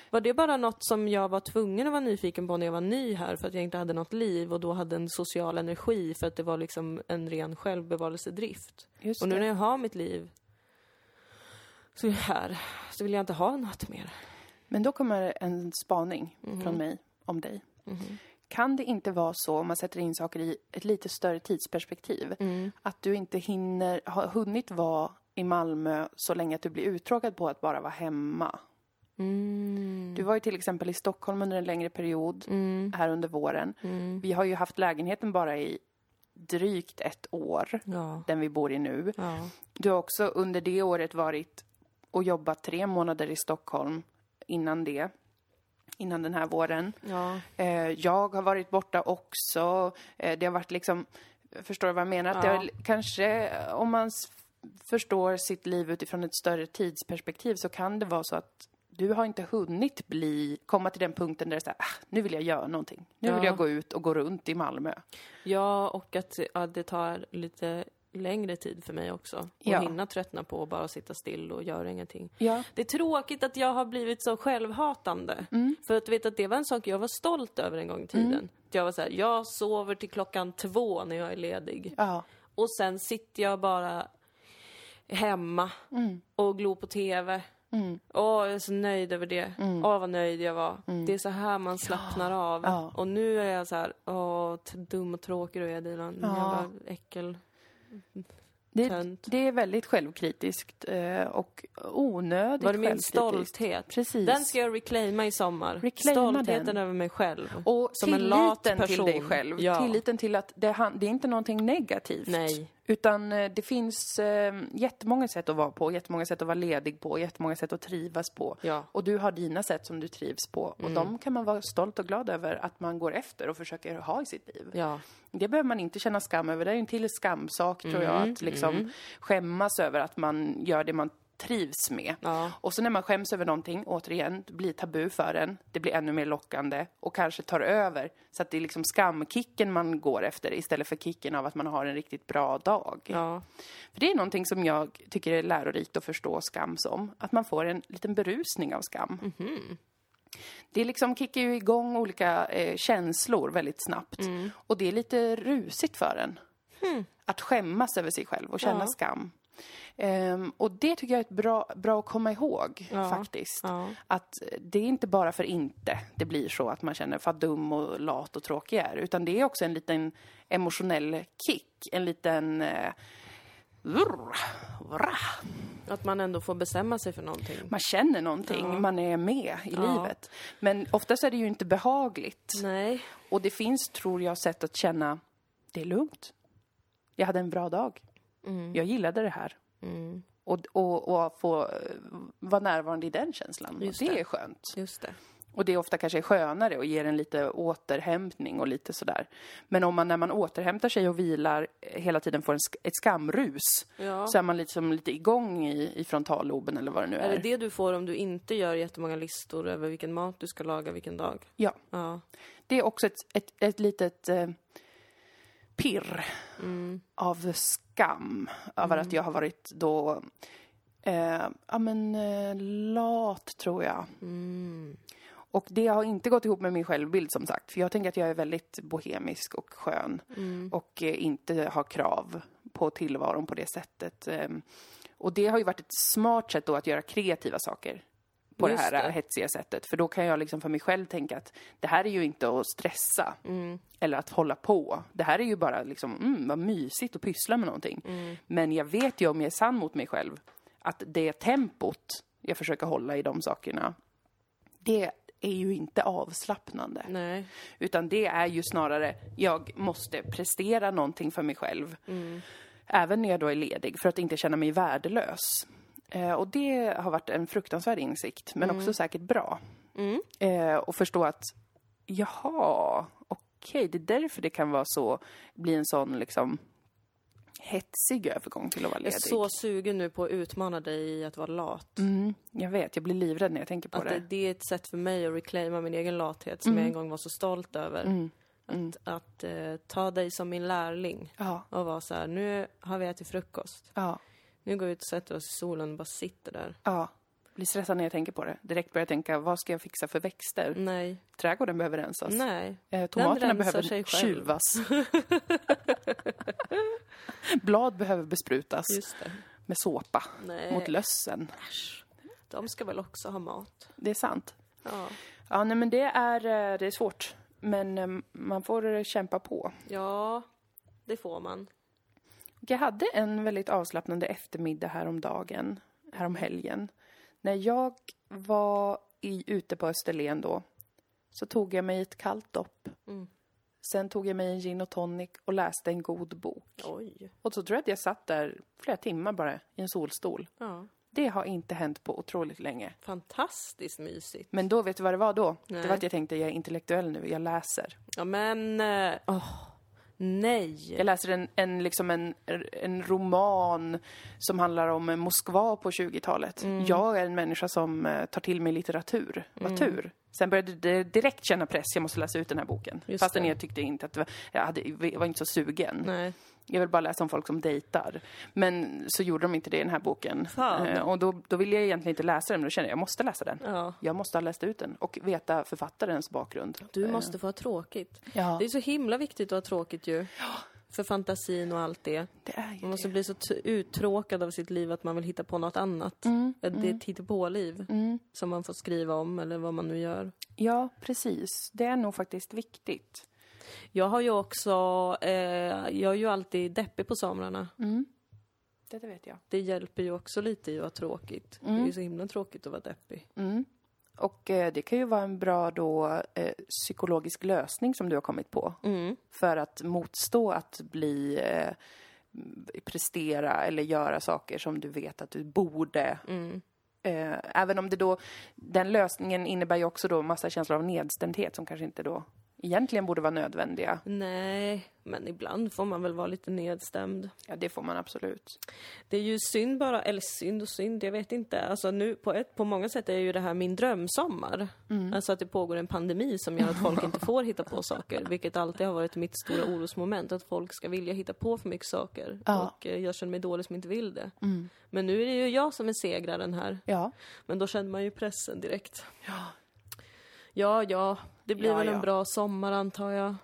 Speaker 2: Var det bara något som jag var tvungen att vara nyfiken på när jag var ny här för att jag inte hade något liv och då hade en social energi för att det var liksom en ren självbevarelsedrift?
Speaker 1: Just
Speaker 2: och nu
Speaker 1: det.
Speaker 2: när jag har mitt liv så är jag här, så vill jag inte ha något mer.
Speaker 1: Mhm. Men då kommer en spaning från mig om dig. Mhm. Kan det inte vara så, om man sätter in saker i ett lite större tidsperspektiv, att du inte hinner, har hunnit vara i Malmö så länge att du blir uttråkad på att bara vara hemma?
Speaker 2: Mm.
Speaker 1: Du var ju till exempel i Stockholm under en längre period här under våren.
Speaker 2: Mm.
Speaker 1: Vi har ju haft lägenheten bara i drygt ett år,
Speaker 2: Ja.
Speaker 1: den vi bor i nu.
Speaker 2: Ja.
Speaker 1: Du har också under det året varit och jobbat tre månader i Stockholm innan det, innan den här våren.
Speaker 2: Ja.
Speaker 1: Eh, jag har varit borta också. Eh, det har varit liksom, förstår du vad jag menar? Att det har, kanske, eh, om man s- förstår sitt liv utifrån ett större tidsperspektiv så kan det vara så att du har inte hunnit bli, komma till den punkten där det är så här, ah, nu vill jag göra någonting. Nu vill
Speaker 2: Ja.
Speaker 1: jag gå ut och gå runt i Malmö.
Speaker 2: ja, och att ja, det tar lite längre tid för mig också. Att
Speaker 1: Ja.
Speaker 2: hinna tröttna på att bara sitta still och göra ingenting.
Speaker 1: Ja.
Speaker 2: Det är tråkigt att jag har blivit så självhatande. För att vet att det var en sak jag var stolt över en gång i tiden. Att Jag var så här, jag sover till klockan två när jag är ledig.
Speaker 1: Ja.
Speaker 2: Och sen sitter jag bara hemma
Speaker 1: Mm.
Speaker 2: och glor på TV. Åh, jag är så nöjd över det. Åh, vad nöjd jag var. Det är så här man slappnar av.
Speaker 1: Mm. Ja.
Speaker 2: Och nu är jag så här, åh, t- dum och tråkig du är Dilan.
Speaker 1: Ja.
Speaker 2: Jävla äckel.
Speaker 1: Det,
Speaker 2: Tönt.
Speaker 1: det är väldigt självkritiskt eh, och onödigt
Speaker 2: Var det min
Speaker 1: självkritiskt.
Speaker 2: stolthet?
Speaker 1: Precis.
Speaker 2: Den ska jag reclaima i sommar.
Speaker 1: Reclaima
Speaker 2: Stoltheten
Speaker 1: den.
Speaker 2: över mig själv.
Speaker 1: Och
Speaker 2: Som en
Speaker 1: tilliten
Speaker 2: lat
Speaker 1: till
Speaker 2: person.
Speaker 1: dig själv.
Speaker 2: Ja.
Speaker 1: Tilliten till att det, han- det är inte någonting negativt.
Speaker 2: Nej.
Speaker 1: Utan eh, det finns eh, jättemånga sätt att vara på, jättemånga sätt att vara ledig på, jättemånga sätt att trivas på.
Speaker 2: Ja. Mm.
Speaker 1: Och du har dina sätt som du trivs på. Och de kan man vara stolt och glad över att man går efter och försöker ha i sitt liv.
Speaker 2: Ja.
Speaker 1: Det behöver man inte känna skam över. Det är ju en till skamsak tror jag, att liksom skämmas över att man gör det man trivs med.
Speaker 2: Ja.
Speaker 1: Och så när man skäms över någonting, återigen, det blir tabu för en, det blir ännu mer lockande och kanske tar över. Så att det är liksom skamkicken man går efter istället för kicken av att man har en riktigt bra dag.
Speaker 2: Ja.
Speaker 1: För det är någonting som jag tycker är lärorikt att förstå skam som. Att man får en liten berusning av skam.
Speaker 2: Mhm.
Speaker 1: Det liksom kickar ju igång olika eh, känslor väldigt snabbt.
Speaker 2: Mm.
Speaker 1: Och det är lite rusigt för en. Att skämmas över sig själv och känna
Speaker 2: Hmm. Ja.
Speaker 1: skam. Ehm, och det tycker jag är ett bra, bra att komma ihåg faktiskt.
Speaker 2: Ja.
Speaker 1: Att eh, det är inte bara för inte det blir så att man känner för dum och lat och tråkig jag är. Utan det är också en liten emotionell kick. En liten... Eh, Urr, urra.
Speaker 2: Att man ändå får bestämma sig för någonting.
Speaker 1: Man känner någonting, man är med i
Speaker 2: Ja.
Speaker 1: livet. Men oftast är det ju inte behagligt.
Speaker 2: Nej.
Speaker 1: Och det finns, tror jag, sätt att känna det är lugnt. Jag hade en bra dag.
Speaker 2: Mm.
Speaker 1: Jag gillade det här. Och, och, och få eh, vara närvarande i den känslan.
Speaker 2: Just
Speaker 1: och det,
Speaker 2: det.
Speaker 1: är skönt.
Speaker 2: Just det.
Speaker 1: Och det är ofta kanske skönare och ger en lite återhämtning och lite sådär. Men om man när man återhämtar sig och vilar eh, hela tiden får en, sk- ett skamrus
Speaker 2: Ja.
Speaker 1: så är man liksom lite igång i, i frontalloben eller vad det nu
Speaker 2: Är
Speaker 1: är.
Speaker 2: det det du får om du inte gör jättemånga listor över vilken mat du ska laga vilken dag?
Speaker 1: Ja.
Speaker 2: Ja.
Speaker 1: Det är också ett, ett, ett litet eh, pirr av skam över att jag har varit då, eh, ja men eh, lat tror jag. Och det har inte gått ihop med min självbild som sagt, för jag tänker att jag är väldigt bohemisk och skön
Speaker 2: Mm.
Speaker 1: och eh, inte har krav på tillvaron på det sättet. Eh, och det har ju varit ett smart sätt då att göra kreativa saker på
Speaker 2: Just
Speaker 1: det här
Speaker 2: det.
Speaker 1: hetsiga sättet. För då kan jag liksom för mig själv tänka att det här är ju inte att stressa
Speaker 2: Mm.
Speaker 1: eller att hålla på. Det här är ju bara liksom, mm, vad mysigt att pyssla med någonting.
Speaker 2: Mm.
Speaker 1: Men jag vet ju om jag är sann mot mig själv att det tempot jag försöker hålla i de sakerna, det är ju inte avslappnande.
Speaker 2: Nej.
Speaker 1: Utan det är ju snarare, jag måste prestera någonting för mig själv.
Speaker 2: Mm.
Speaker 1: Även när jag då är ledig, för att inte känna mig värdelös. Eh, och det har varit en fruktansvärd insikt, men
Speaker 2: Mm.
Speaker 1: också säkert bra. Eh, och förstå att, jaha, okej, det är därför det kan vara så, bli en sån liksom hetsig övergång till att vara
Speaker 2: Jag
Speaker 1: ledig.
Speaker 2: är så sugen nu på att utmana dig i att vara lat.
Speaker 1: mm, jag vet, jag blir livrädd när jag tänker på
Speaker 2: Att det,
Speaker 1: det.
Speaker 2: det är ett sätt för mig att reclaima min egen lathet som
Speaker 1: Mm.
Speaker 2: jag en gång var så stolt över. Att, att eh, ta dig som min lärling
Speaker 1: Ja,
Speaker 2: och vara så här, nu har vi ätit frukost.
Speaker 1: ja,
Speaker 2: Nu går vi ut och sätter oss i solen och bara sitter där.
Speaker 1: ja. Blir stressad när jag tänker på det. Direkt börjar jag tänka, vad ska jag fixa för växter?
Speaker 2: Nej,
Speaker 1: Trädgården behöver rensas.
Speaker 2: Mm. nej.
Speaker 1: Eh,
Speaker 2: Den
Speaker 1: tomaterna
Speaker 2: rensar
Speaker 1: behöver
Speaker 2: sig själv.
Speaker 1: tjuvas. Blad behöver besprutas
Speaker 2: Just Eh. det.
Speaker 1: med såpa
Speaker 2: Nej.
Speaker 1: mot lössen.
Speaker 2: De ska väl också ha mat?
Speaker 1: Det är sant.
Speaker 2: Ja.
Speaker 1: Ja, nej men det är, eh, det är svårt. Men eh, man får eh, kämpa på.
Speaker 2: Ja, det får man.
Speaker 1: Jag hade en väldigt avslappnande eftermiddag häromdagen, häromhelgen. När jag var i, ute på Österlen då, så tog jag mig ett kallt dopp.
Speaker 2: Mm.
Speaker 1: Sen tog jag mig en gin och tonic och läste en god bok.
Speaker 2: Oj.
Speaker 1: Och så tror jag att jag satt där flera timmar bara i en solstol.
Speaker 2: Ja.
Speaker 1: Det har inte hänt på otroligt länge.
Speaker 2: Fantastiskt mysigt.
Speaker 1: Men då, vet du vad det var då? Det
Speaker 2: Nej.
Speaker 1: var att jag tänkte, jag är intellektuell nu, jag läser.
Speaker 2: Ja men, eh, åh, nej.
Speaker 1: Jag läser en, en, liksom en, en roman som handlar om eh, Moskva på 20-talet.
Speaker 2: Mm.
Speaker 1: Jag är en människa som eh, tar till mig litteratur. Vad tur. Sen började det direkt känna press, jag måste läsa ut den här boken.
Speaker 2: Just
Speaker 1: Fastän
Speaker 2: det.
Speaker 1: jag tyckte inte att, det var- jag hade, jag var inte så sugen.
Speaker 2: Nej.
Speaker 1: Jag vill bara läsa om folk som dejtar. Men så gjorde de inte det i den här boken.
Speaker 2: Fan.
Speaker 1: Eh, Och då, då ville jag egentligen inte läsa den, men då kände jag jag måste läsa den.
Speaker 2: Ja.
Speaker 1: Jag måste ha läst ut den och veta författarens bakgrund. Eh,
Speaker 2: Du måste få ha tråkigt.
Speaker 1: Ja.
Speaker 2: Det är så himla viktigt att ha tråkigt ju. För fantasin och allt det.
Speaker 1: Det är ju
Speaker 2: Man måste bli så t- uttråkad av sitt liv att man vill hitta på något annat. Att Det är ett hittepåliv som man får skriva om eller vad man nu gör.
Speaker 1: Ja, precis. Det är nog faktiskt viktigt.
Speaker 2: Jag har ju också, eh, jag är ju alltid deppig på somrarna.
Speaker 1: Det, vet jag.
Speaker 2: Det hjälper ju också lite i att ha tråkigt. Det är ju så himla tråkigt att vara deppig.
Speaker 1: Och eh, det kan ju vara en bra då, eh, psykologisk lösning som du har kommit på.
Speaker 2: Mm.
Speaker 1: För att motstå att bli eh, prestera eller göra saker som du vet att du borde. Eh, även om det då, den lösningen innebär ju också då massa känslor av nedstämdhet som kanske inte då egentligen borde vara nödvändiga.
Speaker 2: Nej, men ibland får man väl vara lite nedstämd.
Speaker 1: Ja, det får man absolut.
Speaker 2: Det är ju synd bara, eller synd och synd, jag vet inte. Alltså nu på, ett, på många sätt är ju det här min drömsommar.
Speaker 1: Mm.
Speaker 2: Alltså att det pågår en pandemi som gör att folk inte får hitta på saker. Vilket alltid har varit mitt stora orosmoment, att folk ska vilja hitta på för mycket saker.
Speaker 1: Ja. Mm.
Speaker 2: Och eh, jag känner mig dålig som inte vill det. Men nu är det ju jag som är segraren här.
Speaker 1: Ja.
Speaker 2: Men då känner man ju pressen direkt. Ja, ja, ja. det blir
Speaker 1: Ja,
Speaker 2: väl
Speaker 1: ja.
Speaker 2: en bra sommar antar jag.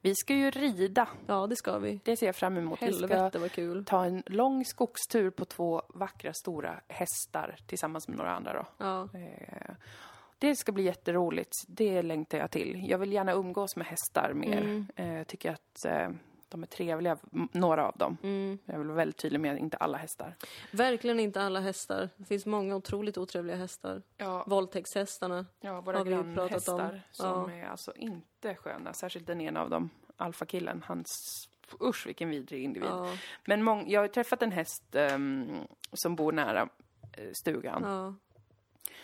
Speaker 1: Vi ska ju rida.
Speaker 2: Ja, det ska vi.
Speaker 1: Det ser jag fram emot. Vi ska-
Speaker 2: Helvete vad kul.
Speaker 1: ta en lång skogstur på två vackra stora hästar tillsammans med några andra då.
Speaker 2: Ja.
Speaker 1: Eh, Det ska bli jätteroligt. Det längtar jag till. Jag vill gärna umgås med hästar mer. Eh, Jag tycker att eh, de är trevliga, m- några av dem.
Speaker 2: Mm.
Speaker 1: Jag vill vara väldigt tydlig med att inte alla hästar.
Speaker 2: Verkligen inte alla hästar. Det finns många otroligt otrevliga hästar.
Speaker 1: Ja,
Speaker 2: Våldtäktshästarna.
Speaker 1: ja våra
Speaker 2: har vi ju
Speaker 1: grannhästar
Speaker 2: pratat om.
Speaker 1: som
Speaker 2: Ja.
Speaker 1: är alltså inte sköna. Särskilt den ena av dem, alfakillen. Hans... Usch vilken vidrig individ.
Speaker 2: Ja,
Speaker 1: Men mång... jag har ju träffat en häst ehm, som bor nära eh, stugan.
Speaker 2: ja.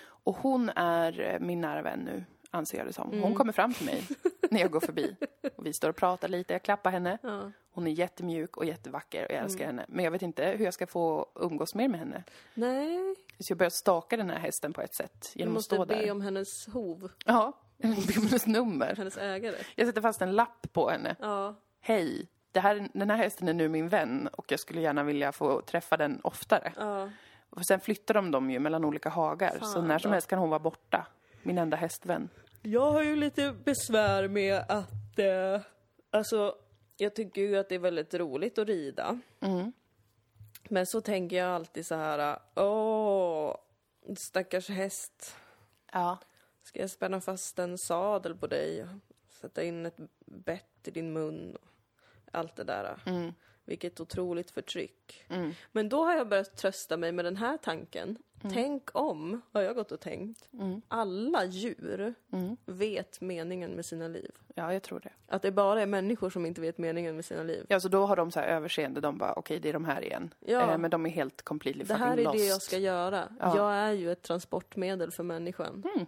Speaker 1: Och hon är eh, min nära vän nu, anser jag det som.
Speaker 2: Mm.
Speaker 1: Hon kommer fram till mig när jag går förbi. Och vi står och pratar lite, jag klappar henne.
Speaker 2: Ja.
Speaker 1: Hon är jättemjuk och jättevacker och jag älskar
Speaker 2: Mm.
Speaker 1: henne. Men jag vet inte hur jag ska få umgås mer med henne.
Speaker 2: Nej,
Speaker 1: Så jag börjar staka den här hästen på ett sätt.
Speaker 2: du
Speaker 1: Genom att
Speaker 2: måste
Speaker 1: stå
Speaker 2: be
Speaker 1: där.
Speaker 2: om hennes hov,
Speaker 1: Ja, jag måste be om hennes nummer.
Speaker 2: hennes ägare.
Speaker 1: Jag sätter fast en lapp på henne.
Speaker 2: Ja,
Speaker 1: Hej, det här, den här hästen är nu min vän och jag skulle gärna vilja få träffa den oftare.
Speaker 2: ja.
Speaker 1: Och sen flyttar de dem ju mellan olika hagar. så
Speaker 2: Fan
Speaker 1: när som
Speaker 2: då.
Speaker 1: helst kan hon vara borta. Min enda hästvän.
Speaker 2: Jag har ju lite besvär med att... Eh, alltså, jag tycker ju att det är väldigt roligt att rida.
Speaker 1: Mm.
Speaker 2: Men så tänker jag alltid så här, åh, stackars häst.
Speaker 1: Ja.
Speaker 2: Ska jag spänna fast en sadel på dig och sätta in ett bett i din mun? och Allt det där.
Speaker 1: Mm.
Speaker 2: Vilket otroligt förtryck. Men då har jag börjat trösta mig med den här tanken.
Speaker 1: Mm.
Speaker 2: Tänk om, har jag gått och tänkt, alla djur
Speaker 1: Mm.
Speaker 2: vet meningen med sina liv.
Speaker 1: Ja, jag tror det.
Speaker 2: Att det bara är människor som inte vet meningen med sina liv.
Speaker 1: Ja, så då har de så här överseende. De bara, okej, det är de här igen.
Speaker 2: Ja.
Speaker 1: Eh, men de är helt completely
Speaker 2: Det
Speaker 1: fucking
Speaker 2: här är
Speaker 1: lost.
Speaker 2: det jag ska göra. Jag är ju ett transportmedel för människan.
Speaker 1: Mm.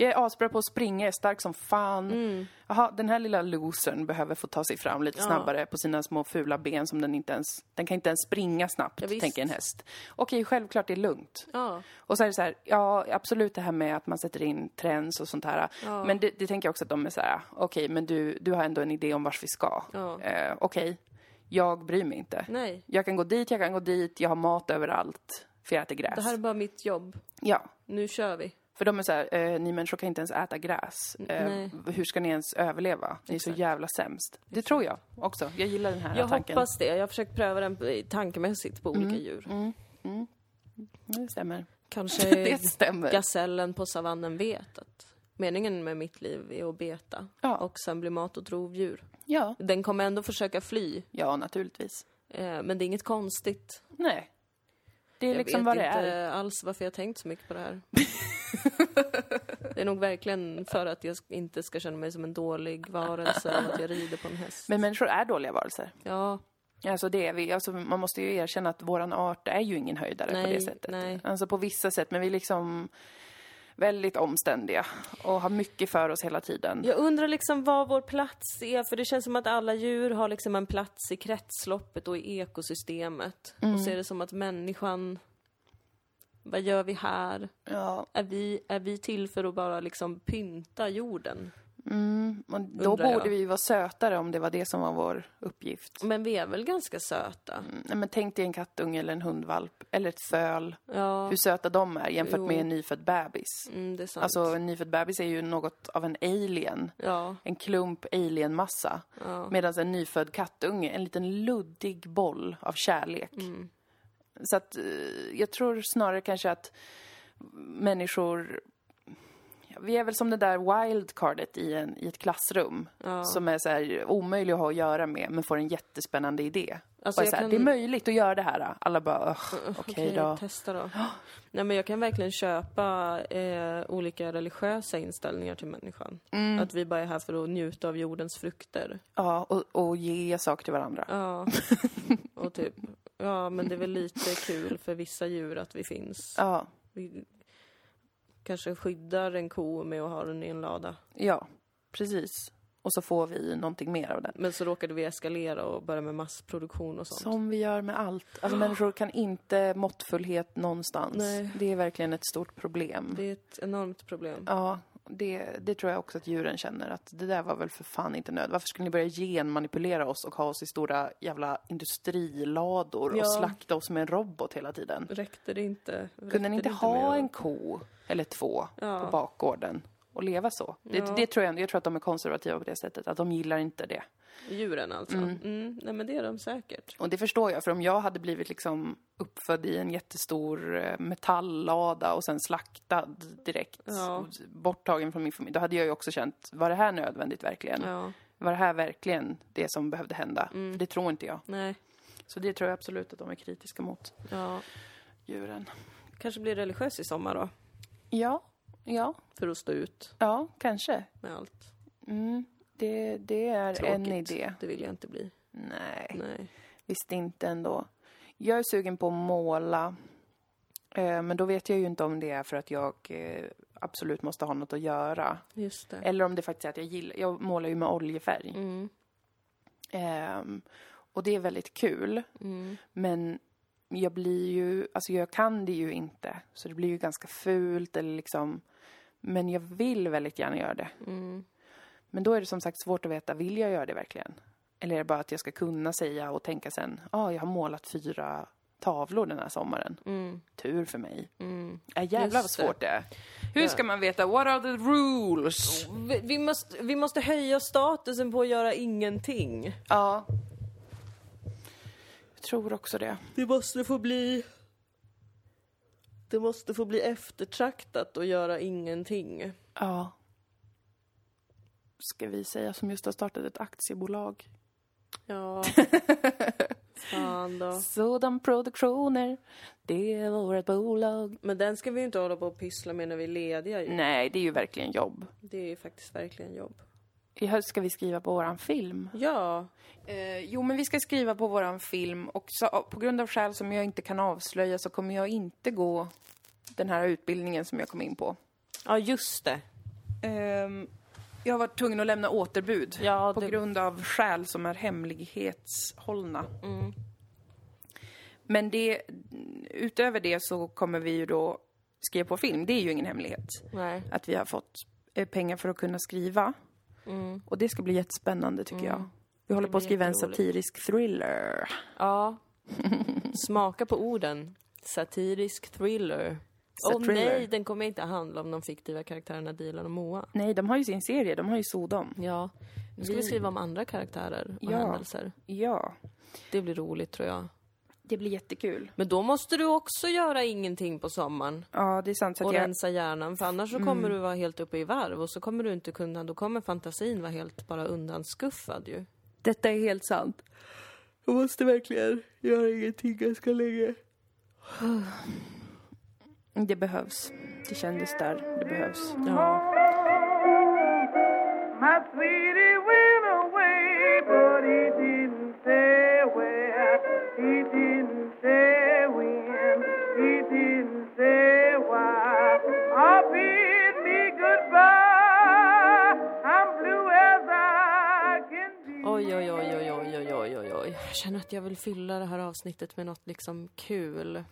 Speaker 1: Jag är asbra på att springa, jag är stark som fan.
Speaker 2: Mm.
Speaker 1: Jaha, den här lilla losern behöver få ta sig fram lite snabbare på sina små fula ben som den inte ens... Den kan inte ens springa snabbt,
Speaker 2: Ja, visst.
Speaker 1: tänker en häst. Okej, självklart, det är lugnt.
Speaker 2: Ja.
Speaker 1: Och så är det så här, ja absolut det här med att man sätter in trends och sånt här. Men det, det tänker jag också att de är så här, okej men du, du har ändå en idé om vart vi ska.
Speaker 2: Ja. Mm.
Speaker 1: Eh, okej, jag bryr mig inte.
Speaker 2: Nej.
Speaker 1: Jag kan gå dit, jag kan gå dit, jag har mat överallt. För jag äter gräs.
Speaker 2: Det här är bara mitt jobb.
Speaker 1: Ja.
Speaker 2: Nu kör vi.
Speaker 1: För de är så här, eh, ni människor kan inte ens äta gräs. Eh,
Speaker 2: nej.
Speaker 1: hur ska ni ens överleva? Ni är så jävla sämst. Det tror jag också. Jag gillar den här
Speaker 2: Jag
Speaker 1: tanken. Mm.
Speaker 2: hoppas det. Jag har försökt pröva den på- tankemässigt på olika djur.
Speaker 1: Det stämmer.
Speaker 2: Kanske
Speaker 1: det stämmer.
Speaker 2: gasellen på savannen vet att Meningen med mitt liv är att beta
Speaker 1: Ja.
Speaker 2: och sen bli mat åt rovdjur.
Speaker 1: Ja.
Speaker 2: Den kommer ändå försöka fly,
Speaker 1: Ja, naturligtvis.
Speaker 2: eh, men det är inget konstigt.
Speaker 1: Nej. Det är
Speaker 2: Jag
Speaker 1: liksom
Speaker 2: vet
Speaker 1: vad det
Speaker 2: inte
Speaker 1: är.
Speaker 2: alls varför jag har tänkt så mycket på det här. det är nog verkligen för att jag inte ska känna mig som en dålig varelse av att jag rider på en häst.
Speaker 1: Men människor är dåliga varelser.
Speaker 2: Ja,
Speaker 1: Alltså det är vi, alltså man måste ju erkänna att våran art är ju ingen höjdare på
Speaker 2: Nej,
Speaker 1: det sättet.
Speaker 2: nej.
Speaker 1: Alltså på vissa sätt, men vi är liksom väldigt omständiga och har mycket för oss hela tiden.
Speaker 2: Jag undrar liksom vad vår plats är, för det känns som att alla djur har liksom en plats i kretsloppet och i ekosystemet.
Speaker 1: Mm.
Speaker 2: Och så är det som att människan, vad gör vi här?
Speaker 1: Ja.
Speaker 2: Är vi, är vi till för att bara liksom pynta jorden?
Speaker 1: Mm, och då
Speaker 2: Undrar jag.
Speaker 1: borde vi ju vara sötare om det var det som var vår uppgift.
Speaker 2: Men vi är väl ganska söta?
Speaker 1: Mm, nej, men tänk dig en kattunge eller en hundvalp, eller ett föl.
Speaker 2: Ja,
Speaker 1: Hur söta de är jämfört
Speaker 2: Jo.
Speaker 1: med en nyfödd bebis.
Speaker 2: mm, det är sant.
Speaker 1: Alltså en nyfödd bebis är ju något av en alien.
Speaker 2: ja,
Speaker 1: En klump alienmassa.
Speaker 2: ja.
Speaker 1: Medan en nyfödd kattunge, en liten luddig boll av kärlek.
Speaker 2: Mm.
Speaker 1: Så att eh, jag tror snarare kanske att människor... ja, Vi är väl som det där wildcardet i, en, i ett klassrum. Som är så här omöjlig att ha att göra med, men får en jättespännande idé.
Speaker 2: Alltså,
Speaker 1: Bara
Speaker 2: jag
Speaker 1: så här,
Speaker 2: kan-
Speaker 1: Det är möjligt att göra det här. Alla bara, "Ugh, okej
Speaker 2: Okej,
Speaker 1: då.
Speaker 2: testa då. Nej men jag kan verkligen köpa eh, olika religiösa inställningar till människan.
Speaker 1: Mm.
Speaker 2: Att vi bara är här för att njuta av jordens frukter.
Speaker 1: Ja, och, och ge saker till varandra.
Speaker 2: Ja, och typ, ja men det är väl lite kul för vissa djur att vi finns.
Speaker 1: Ja,
Speaker 2: Vi kanske skyddar en ko med att ha den i en lada.
Speaker 1: ja precis. Och så får vi någonting mer av den.
Speaker 2: Men så råkade vi eskalera och börja med massproduktion och sånt.
Speaker 1: Som vi gör med allt. Alltså människor kan inte måttfullhet någonstans.
Speaker 2: Nej.
Speaker 1: Det är verkligen ett stort problem.
Speaker 2: Det är ett enormt problem.
Speaker 1: Ja, det, det tror jag också att djuren känner. Att det där var väl för fan inte nöd. Varför skulle ni börja genmanipulera oss och ha oss i stora jävla industrilador
Speaker 2: Ja.
Speaker 1: och slakta oss med en robot hela tiden?
Speaker 2: Räckte det inte?
Speaker 1: Kunde ni inte ha en ko eller två
Speaker 2: Ja.
Speaker 1: på bakgården och leva så? Det, det tror jag, jag tror att de är konservativa på det sättet, att de gillar inte det.
Speaker 2: Djuren alltså? Mm. Nej men det är de säkert.
Speaker 1: Och det förstår jag, för om jag hade blivit liksom uppfödd i en jättestor eh, metalllada och sen slaktad direkt,
Speaker 2: Ja.
Speaker 1: och borttagen från min familj, då hade jag ju också känt, var det här nödvändigt verkligen?
Speaker 2: Ja, Mm.
Speaker 1: Var det här verkligen det som behövde hända? För det tror inte jag.
Speaker 2: nej.
Speaker 1: Så det tror jag absolut att de är kritiska mot,
Speaker 2: Ja.
Speaker 1: djuren.
Speaker 2: Kanske blir religiös i sommar då?
Speaker 1: Ja, ja,
Speaker 2: För att stå ut
Speaker 1: ja, kanske.
Speaker 2: med allt.
Speaker 1: Mm. Det, det är en
Speaker 2: Tråkigt.
Speaker 1: idé.
Speaker 2: Det vill jag inte bli.
Speaker 1: Nej.
Speaker 2: Nej.
Speaker 1: Visst inte ändå. Jag är sugen på att måla. Eh, Men då vet jag ju inte om det är för att jag eh, absolut måste ha något att göra.
Speaker 2: Just det.
Speaker 1: Eller om det faktiskt är att jag gillar... Jag målar ju med oljefärg.
Speaker 2: Mm.
Speaker 1: Ehm, Och det är väldigt kul.
Speaker 2: Mm.
Speaker 1: Men jag blir ju... Alltså jag kan det ju inte. Så det blir ju ganska fult eller liksom... Men jag vill väldigt gärna göra det.
Speaker 2: Mm.
Speaker 1: Men då är det som sagt svårt att veta, vill jag göra det verkligen? Eller är det bara att jag ska kunna säga och tänka sen, ja, ah, jag har målat fyra tavlor den här sommaren.
Speaker 2: Mm.
Speaker 1: Tur för mig.
Speaker 2: Mm.
Speaker 1: Äh, jävlar vad
Speaker 2: Just det.
Speaker 1: svårt det är. Hur ska man veta, what are the rules?
Speaker 2: Vi, vi, måste, vi måste höja statusen på att göra ingenting.
Speaker 1: Ja. Jag tror också det.
Speaker 2: Det måste få bli... Det måste få bli eftertraktat att göra ingenting.
Speaker 1: Ja. Ska vi säga som just har startat ett aktiebolag?
Speaker 2: Ja. Fan då.
Speaker 1: Sådan produktioner, det är vårt bolag.
Speaker 2: Men den ska vi ju inte hålla på och pyssla med när vi är lediga ju.
Speaker 1: Nej, det är ju verkligen jobb.
Speaker 2: Det är ju faktiskt verkligen jobb.
Speaker 1: I höst ska vi skriva på våran film.
Speaker 2: Ja.
Speaker 1: Eh, jo, men vi ska skriva på våran film och så, på grund av skäl som jag inte kan avslöja så kommer jag inte gå den här utbildningen som jag kom in på.
Speaker 2: Ja, just det.
Speaker 1: Ehm, jag har varit tvungen att lämna återbud
Speaker 2: Ja,
Speaker 1: på
Speaker 2: det-
Speaker 1: grund av skäl som är hemlighetshållna. Men det, utöver det så kommer vi ju då skriva på film. Det är ju ingen hemlighet
Speaker 2: Nej.
Speaker 1: att vi har fått eh, pengar för att kunna skriva. Och det ska bli jättespännande tycker jag. Vi håller på att skriva en satirisk thriller.
Speaker 2: Ja. Smaka på orden. Satirisk thriller. Åh
Speaker 1: Sathriller.
Speaker 2: nej, den kommer inte handla om de fiktiva karaktärerna Dilan och Moa.
Speaker 1: Nej, de har ju sin serie, de har ju Sodom.
Speaker 2: Ja. Nu ska vi skriva om andra karaktärer och
Speaker 1: Ja.
Speaker 2: händelser.
Speaker 1: Ja.
Speaker 2: Det blir roligt tror jag.
Speaker 1: Det blir jättekul.
Speaker 2: Men då måste du också göra ingenting på sommaren
Speaker 1: Ja, det är sant. Så
Speaker 2: och
Speaker 1: att jag, Mm.
Speaker 2: rensa hjärnan för annars så kommer du vara helt uppe i varv och så kommer du inte kunna, då kommer fantasin vara helt bara undanskuffad ju.
Speaker 1: detta är helt sant. Jag måste verkligen göra ingenting ganska länge. Det behövs. Det kändes där. Det behövs.
Speaker 2: Ja.
Speaker 3: My sweetie went away, but he didn't say where. He didn't say when. He didn't say why. Oh, bid me goodbye. I'm blue as I can be.
Speaker 2: Oj, oj, oj, oj, oj, oj, oj, oj, oj. Jag känner att jag vill fylla det här avsnittet med något liksom kul.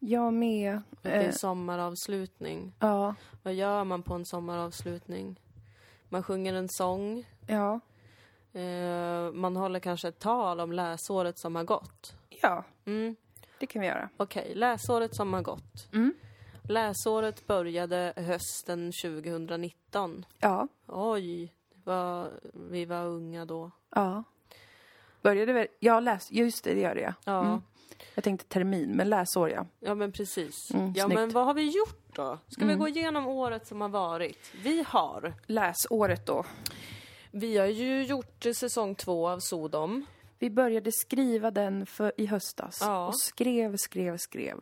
Speaker 1: Jag med.
Speaker 2: Det är
Speaker 1: Eh,
Speaker 2: en sommaravslutning.
Speaker 1: ja.
Speaker 2: Vad gör man på en sommaravslutning? Man sjunger en sång.
Speaker 1: Ja.
Speaker 2: Eh, man håller kanske ett tal om läsåret som har gått.
Speaker 1: Ja,
Speaker 2: Mm.
Speaker 1: det kan vi göra.
Speaker 2: Okej, läsåret som har gått.
Speaker 1: Mm.
Speaker 2: Läsåret började hösten 2019.
Speaker 1: Ja.
Speaker 2: Oj, vad, vi var unga då.
Speaker 1: Ja. Började väl... Jag läste... Just det, det gör jag.
Speaker 2: Ja,
Speaker 1: Jag tänkte termin, men läsår ja.
Speaker 2: ja men precis.
Speaker 1: Mm,
Speaker 2: ja,
Speaker 1: snyggt.
Speaker 2: men vad har vi gjort då? Ska vi gå igenom året som har varit? Vi har.
Speaker 1: Läsåret då.
Speaker 2: Vi har ju gjort eh, säsong två av Sodom.
Speaker 1: Vi började skriva den för, i höstas
Speaker 2: Ja.
Speaker 1: och skrev, skrev, skrev.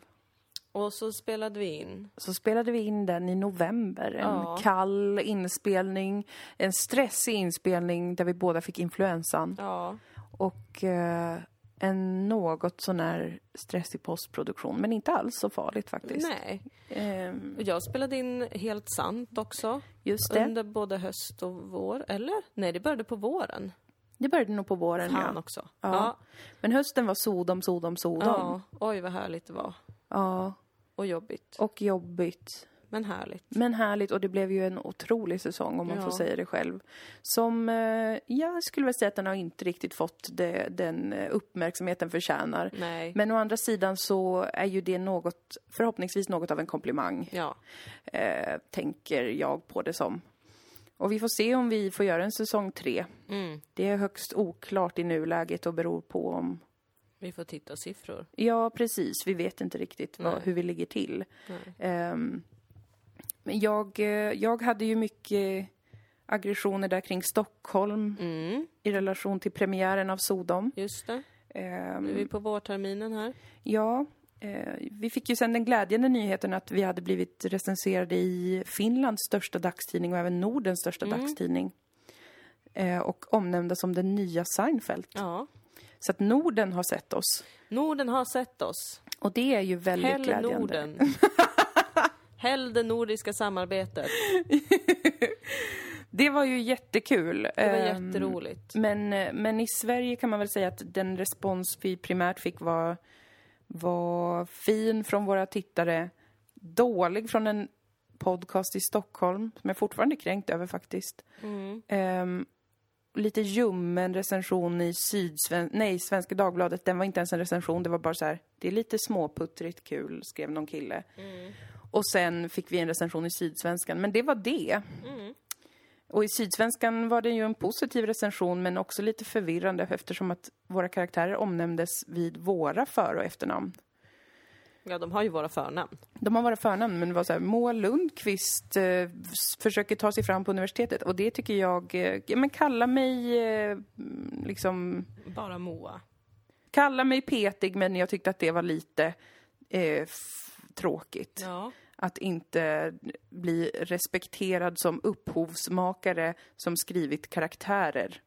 Speaker 2: Och så spelade vi in.
Speaker 1: Så spelade vi in den i november. En
Speaker 2: Ja.
Speaker 1: kall inspelning, en stressig inspelning där vi båda fick influensan
Speaker 2: Ja.
Speaker 1: och eh, en något sånär stressig postproduktion. Men inte alls så farligt faktiskt.
Speaker 2: Nej.
Speaker 1: Ehm,
Speaker 2: Och jag spelade in Helt sant också.
Speaker 1: just det.
Speaker 2: Under både höst och vår. Eller? Nej, det började på våren.
Speaker 1: Det började nog på våren
Speaker 2: Fan
Speaker 1: ja.
Speaker 2: också.
Speaker 1: ja.
Speaker 2: Ja.
Speaker 1: Men hösten var Sodom, Sodom, Sodom.
Speaker 2: ja. Oj, vad härligt det var.
Speaker 1: ja.
Speaker 2: Och jobbigt.
Speaker 1: Och jobbigt.
Speaker 2: Men härligt.
Speaker 1: Men härligt och det blev ju en otrolig säsong om man
Speaker 2: Ja.
Speaker 1: får säga det själv. Som, eh, jag skulle väl säga att den har inte riktigt fått det, den eh, uppmärksamhet den förtjänar.
Speaker 2: Nej.
Speaker 1: Men å andra sidan så är ju det något, förhoppningsvis något av en komplimang,
Speaker 2: Ja.
Speaker 1: eh, tänker jag på det som. Och vi får se om vi får göra en säsong tre.
Speaker 2: Mm.
Speaker 1: Det är högst oklart i nuläget och beror på om
Speaker 2: Vi får titta siffror.
Speaker 1: Ja, precis. Vi vet inte riktigt vad,
Speaker 2: Nej.
Speaker 1: hur vi ligger till.
Speaker 2: Nej.
Speaker 1: Ehm, men jag, eh, jag hade ju mycket aggressioner där kring Stockholm
Speaker 2: Mm.
Speaker 1: i relation till premiären av Sodom.
Speaker 2: Just det. Nu är
Speaker 1: Ehm,
Speaker 2: vi på vårterminen här.
Speaker 1: ja, eh, vi fick ju sen den glädjande nyheten att vi hade blivit recenserade i Finlands största dagstidning och även Nordens största dagstidning. Eh, och omnämnda som den nya Seinfeld.
Speaker 2: Ja.
Speaker 1: Så att Norden har sett oss.
Speaker 2: Norden har sett oss.
Speaker 1: Och det är ju väldigt
Speaker 2: Häll
Speaker 1: glädjande.
Speaker 2: Norden. Häll det nordiska samarbetet.
Speaker 1: Det var ju jättekul.
Speaker 2: Det var
Speaker 1: Ehm,
Speaker 2: jätteroligt.
Speaker 1: Men, eh, men i Sverige kan man väl säga att den respons vi primärt fick var, var fin från våra tittare, dålig från en podcast i Stockholm, som jag fortfarande är kränkt över faktiskt. Ehm, lite ljummen recension i Sydsven- nej, Svenska Dagbladet, den var inte ens en recension, det var bara så här, det är lite småputtrigt kul, skrev någon kille. Och sen fick vi en recension i Sydsvenskan, men det var det. Och i Sydsvenskan var det ju en positiv recension men också lite förvirrande eftersom att våra karaktärer omnämndes vid våra för och efternamn.
Speaker 2: Ja, de har ju våra förnamn.
Speaker 1: De har våra förnamn men det var så här, Moa Lundqvist eh, s- försöker ta sig fram på universitetet och det tycker jag, eh, ja, men kalla mig eh, mm, liksom,
Speaker 2: Bara Moa.
Speaker 1: kalla mig petig men jag tyckte att det var lite eh, f- tråkigt.
Speaker 2: Ja.
Speaker 1: Att inte bli respekterad som upphovsmakare som skrivit karaktärer.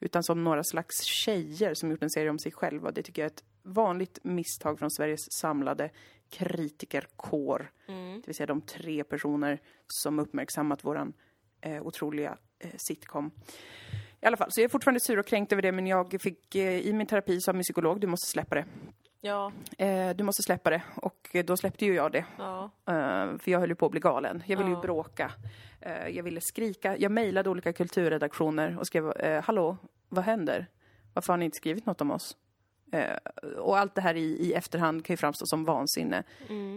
Speaker 1: Utan som några slags tjejer som gjort en serie om sig själva. Det tycker jag är ett vanligt misstag från Sveriges samlade kritikerkår.
Speaker 2: Mm.
Speaker 1: Det vill säga de tre personer som uppmärksammat våran eh, otroliga eh, sitcom. I alla fall, så jag är fortfarande sur och kränkt över det men jag fick eh, i min terapi sa min psykolog, du måste släppa det.
Speaker 2: Ja.
Speaker 1: Eh, du måste släppa det. Och eh, då släppte ju jag det.
Speaker 2: Ja.
Speaker 1: Eh, för jag höll ju på att bli galen. Jag ville ju
Speaker 2: Ja.
Speaker 1: bråka. Eh, jag ville skrika. Jag mejlade olika kulturredaktioner och skrev eh, “Hallå, vad händer? Varför har ni inte skrivit något om oss?” eh, Och allt det här i, i efterhand kan ju framstå som vansinne.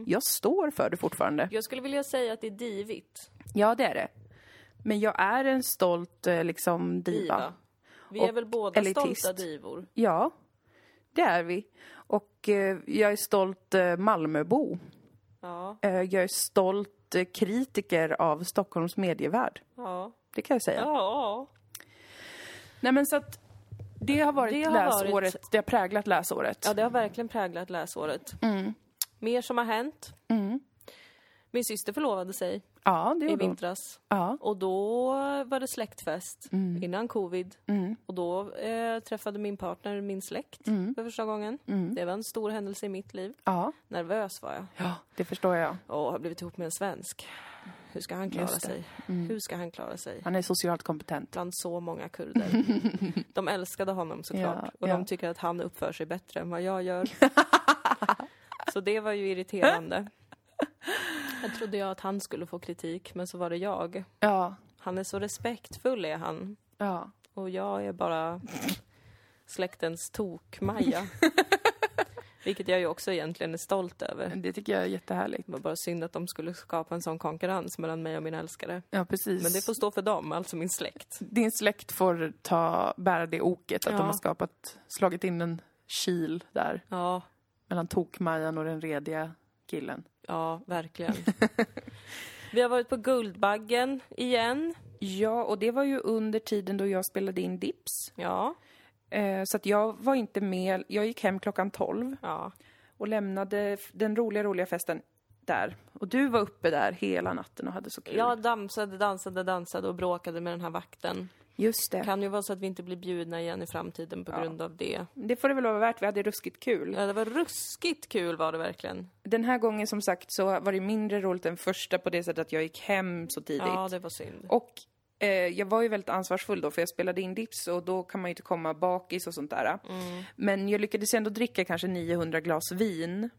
Speaker 1: Jag står för det fortfarande.
Speaker 2: Jag skulle vilja säga att det är divigt.
Speaker 1: Ja, det är det. Men jag är en stolt eh, liksom diva.
Speaker 2: Diva. Vi är
Speaker 1: Och
Speaker 2: väl båda
Speaker 1: elitist.
Speaker 2: stolta divor.
Speaker 1: Ja. Det är vi. Och eh, jag är stolt eh, Malmöbo.
Speaker 2: Ja,
Speaker 1: Eh, jag är stolt eh, kritiker av Stockholms medievärld.
Speaker 2: ja,
Speaker 1: Det kan jag säga.
Speaker 2: ja.
Speaker 1: Nej men så att det har varit
Speaker 2: Det har
Speaker 1: läsåret,
Speaker 2: varit-
Speaker 1: det har präglat läsåret.
Speaker 2: Ja, det har verkligen präglat läsåret.
Speaker 1: Mm.
Speaker 2: Mer som har hänt. Min syster förlovade sig
Speaker 1: Ja, Mm. det
Speaker 2: i
Speaker 1: gjorde hon.
Speaker 2: vintras.
Speaker 1: Ja. Mm.
Speaker 2: Och då var det släktfest innan covid. Och då eh, träffade min partner min släkt
Speaker 1: Mm.
Speaker 2: för första gången. Det var en stor händelse i mitt liv.
Speaker 1: ja,
Speaker 2: Nervös var jag.
Speaker 1: ja, det förstår jag.
Speaker 2: Åh, har blivit ihop med en svensk. Hur ska han klara
Speaker 1: Just det. Mm.
Speaker 2: sig? Hur ska han klara sig?
Speaker 1: Han är socialt kompetent.
Speaker 2: Bland så många kurder. De älskade honom såklart.
Speaker 1: Ja,
Speaker 2: och
Speaker 1: ja.
Speaker 2: de tycker att han uppför sig bättre än vad jag gör. så det var ju irriterande. Jag trodde jag att han skulle få kritik, men så var det jag.
Speaker 1: Ja,
Speaker 2: Han är så respektfull är han.
Speaker 1: ja.
Speaker 2: Och jag är bara släktens tokmaja. Vilket jag ju också egentligen är stolt över.
Speaker 1: Det tycker jag är jättehärligt.
Speaker 2: Det var bara synd att de skulle skapa en sån konkurrens mellan mig och min älskare.
Speaker 1: Ja, precis.
Speaker 2: Men det får stå för dem, alltså min släkt.
Speaker 1: Din släkt får ta, bära det oket att
Speaker 2: Ja.
Speaker 1: de har skapat, slagit in en kil där
Speaker 2: Ja,
Speaker 1: mellan tokmajan och den rediga killen.
Speaker 2: ja, verkligen. Vi har varit på Guldbaggen igen.
Speaker 1: Ja, och det var ju under tiden då jag spelade in Dips.
Speaker 2: Ja,
Speaker 1: Eh, så att jag var inte med. Jag gick hem klockan 12
Speaker 2: ja,
Speaker 1: och lämnade f- den roliga, roliga festen där. Och du var uppe där hela natten och hade så kul.
Speaker 2: jag dansade, dansade, dansade och bråkade med den här vakten.
Speaker 1: just det.
Speaker 2: Kan ju vara så att vi inte blir bjudna igen i framtiden på grund av det.
Speaker 1: Det får det väl vara värt. Vi hade ruskigt kul.
Speaker 2: Ja, det var ruskigt kul var det verkligen.
Speaker 1: Den här gången som sagt så var det mindre roligt än första på det sättet att jag gick hem så tidigt.
Speaker 2: Ja, det var synd.
Speaker 1: Och eh, jag var ju väldigt ansvarsfull då för jag spelade in dips och då kan man ju inte komma bakis och sånt där. Men jag lyckades ändå dricka kanske 900 glas vin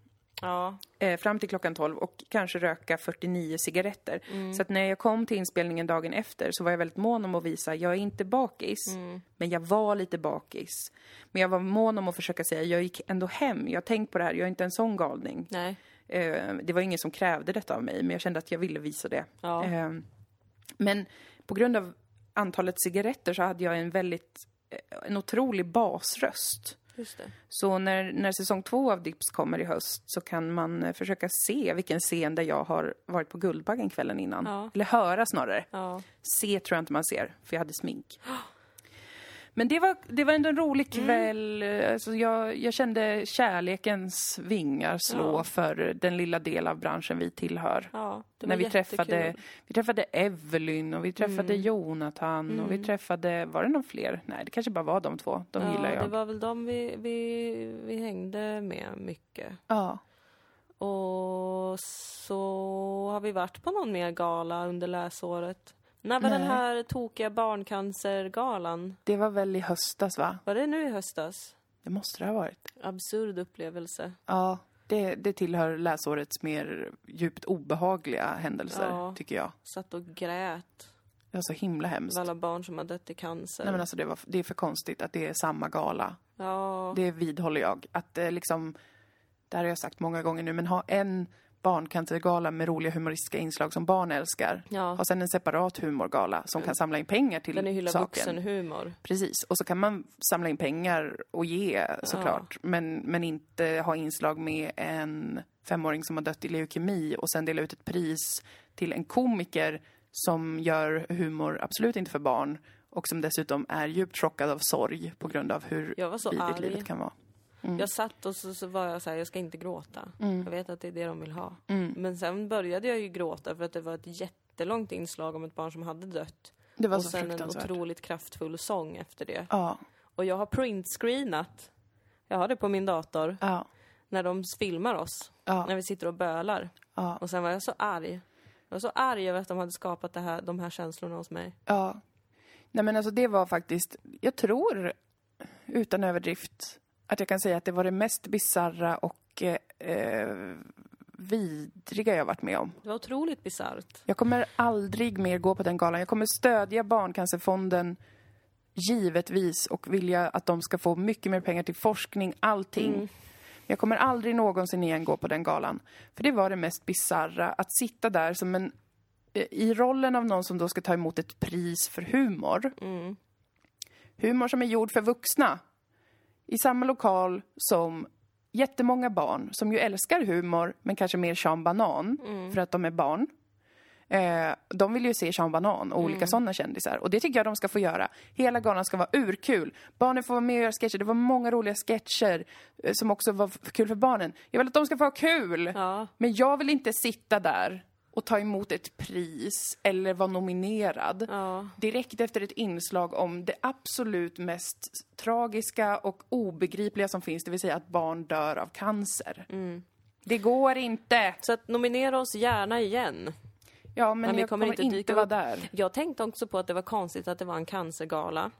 Speaker 2: Ja,
Speaker 1: eh, fram till klockan 12 och kanske röka 49 cigaretter. Så att när jag kom till inspelningen dagen efter så var jag väldigt mån om att visa, jag är inte bakis, men jag var lite bakis. Men jag var mån om att försöka säga, jag gick ändå hem, jag har tänkt på det här, jag är inte en sån galning.
Speaker 2: nej.
Speaker 1: Eh, det var ingen som krävde detta av mig, men jag kände att jag ville visa det.
Speaker 2: Ja.
Speaker 1: Eh, men på grund av antalet cigaretter så hade jag en väldigt, eh, en otrolig basröst.
Speaker 2: Just det.
Speaker 1: Så när, när säsong två av Dips kommer i höst så kan man eh, försöka se vilken scen där jag har varit på Guldbaggen kvällen innan.
Speaker 2: Ja.
Speaker 1: Eller höra snarare.
Speaker 2: Ja.
Speaker 1: Se tror jag inte man ser, för jag hade smink. Men det var, det var ändå en rolig
Speaker 2: Mm.
Speaker 1: kväll. Alltså jag, jag kände kärlekens vingar slå för den lilla del av branschen vi tillhör.
Speaker 2: Ja, det
Speaker 1: När
Speaker 2: var
Speaker 1: vi träffade,
Speaker 2: jättekul. Mm.
Speaker 1: vi träffade Evelyn och vi träffade Jonathan och vi träffade, var det någon fler? Nej, det kanske bara var de två. De gillar
Speaker 2: Ja,
Speaker 1: jag.
Speaker 2: det var väl de vi, vi, vi hängde med mycket.
Speaker 1: Ja.
Speaker 2: Och så har vi varit på någon mer gala under läsåret. När var den
Speaker 1: Nej.
Speaker 2: här tokiga barncancergalan?
Speaker 1: Det var väl i höstas, va?
Speaker 2: Var det nu i höstas?
Speaker 1: Det måste det ha varit.
Speaker 2: Absurd upplevelse.
Speaker 1: Ja. Det, det tillhör läsårets mer djupt obehagliga händelser,
Speaker 2: Ja.
Speaker 1: tycker jag.
Speaker 2: Satt och grät.
Speaker 1: Det var så himla hemskt.
Speaker 2: Av alla barn som har dött i cancer.
Speaker 1: Nej men alltså det, var, det är för konstigt att det är samma gala.
Speaker 2: ja,
Speaker 1: Det vidhåller jag. Att eh, liksom, det här har jag sagt många gånger nu, men ha en barncancergala med roliga humoristiska inslag som barn älskar.
Speaker 2: Ja.
Speaker 1: Ha sen en separat humorgala som kan samla in pengar till
Speaker 2: den är hylla
Speaker 1: saken.
Speaker 2: vuxenhumor.
Speaker 1: Precis, och så kan man samla in pengar och ge såklart. Men, men inte ha inslag med en femåring som har dött i leukemi och sen dela ut ett pris till en komiker som gör humor absolut inte för barn och som dessutom är djupt chockad av sorg på grund av hur
Speaker 2: Jag var så
Speaker 1: vidrigt
Speaker 2: arg.
Speaker 1: livet kan Mm. vara.
Speaker 2: Jag satt och så, så var jag så här, jag ska inte gråta. Jag vet att det är det de vill ha.
Speaker 1: Mm.
Speaker 2: Men sen började jag ju gråta för att det var ett jättelångt inslag om ett barn som hade dött.
Speaker 1: Det var
Speaker 2: och
Speaker 1: så
Speaker 2: sen en
Speaker 1: fruktansvärt.
Speaker 2: otroligt kraftfull sång efter det.
Speaker 1: Ja,
Speaker 2: Och jag har printscreenat, jag har det på min dator,
Speaker 1: ja,
Speaker 2: när de filmar oss.
Speaker 1: Ja.
Speaker 2: När vi sitter och bölar.
Speaker 1: ja,
Speaker 2: Och sen var jag så arg. Jag var så arg över att de hade skapat det här, de här känslorna hos mig.
Speaker 1: ja. Nej men alltså det var faktiskt, jag tror utan överdrift att jag kan säga att det var det mest bizarra och eh, eh, vidriga jag varit med om.
Speaker 2: Det var otroligt bisarrt.
Speaker 1: Jag kommer aldrig mer gå på den galan. Jag kommer stödja Barncancerfonden givetvis och vilja att de ska få mycket mer pengar till forskning, allting. Jag kommer aldrig någonsin igen gå på den galan. För det var det mest bizarra att sitta där som en eh, i rollen av någon som då ska ta emot ett pris för humor. Humor som är gjord för vuxna. i samma lokal som jättemånga barn som ju älskar humor, men kanske mer Sean Banan för att de är barn. Eh, de vill ju se Sean Banan och
Speaker 2: Mm.
Speaker 1: olika sådana kändisar. Och det tycker jag de ska få göra. Hela galan ska vara urkul. Barnen får vara med och göra sketcher. Det var många roliga sketcher eh, som också var f- kul för barnen. Jag vill att de ska få ha kul!
Speaker 2: Ja.
Speaker 1: Men jag vill inte sitta där och ta emot ett pris eller vara nominerad
Speaker 2: Ja.
Speaker 1: direkt efter ett inslag om det absolut mest tragiska och obegripliga som finns, det vill säga att barn dör av cancer.
Speaker 2: Mm.
Speaker 1: Det går inte!
Speaker 2: Så att nominera oss gärna igen.
Speaker 1: Ja, men,
Speaker 2: vi
Speaker 1: jag kommer,
Speaker 2: kommer inte
Speaker 1: inte,
Speaker 2: dyka
Speaker 1: vara
Speaker 2: upp.
Speaker 1: där.
Speaker 2: Jag tänkte också på att det var konstigt att det var en cancergala.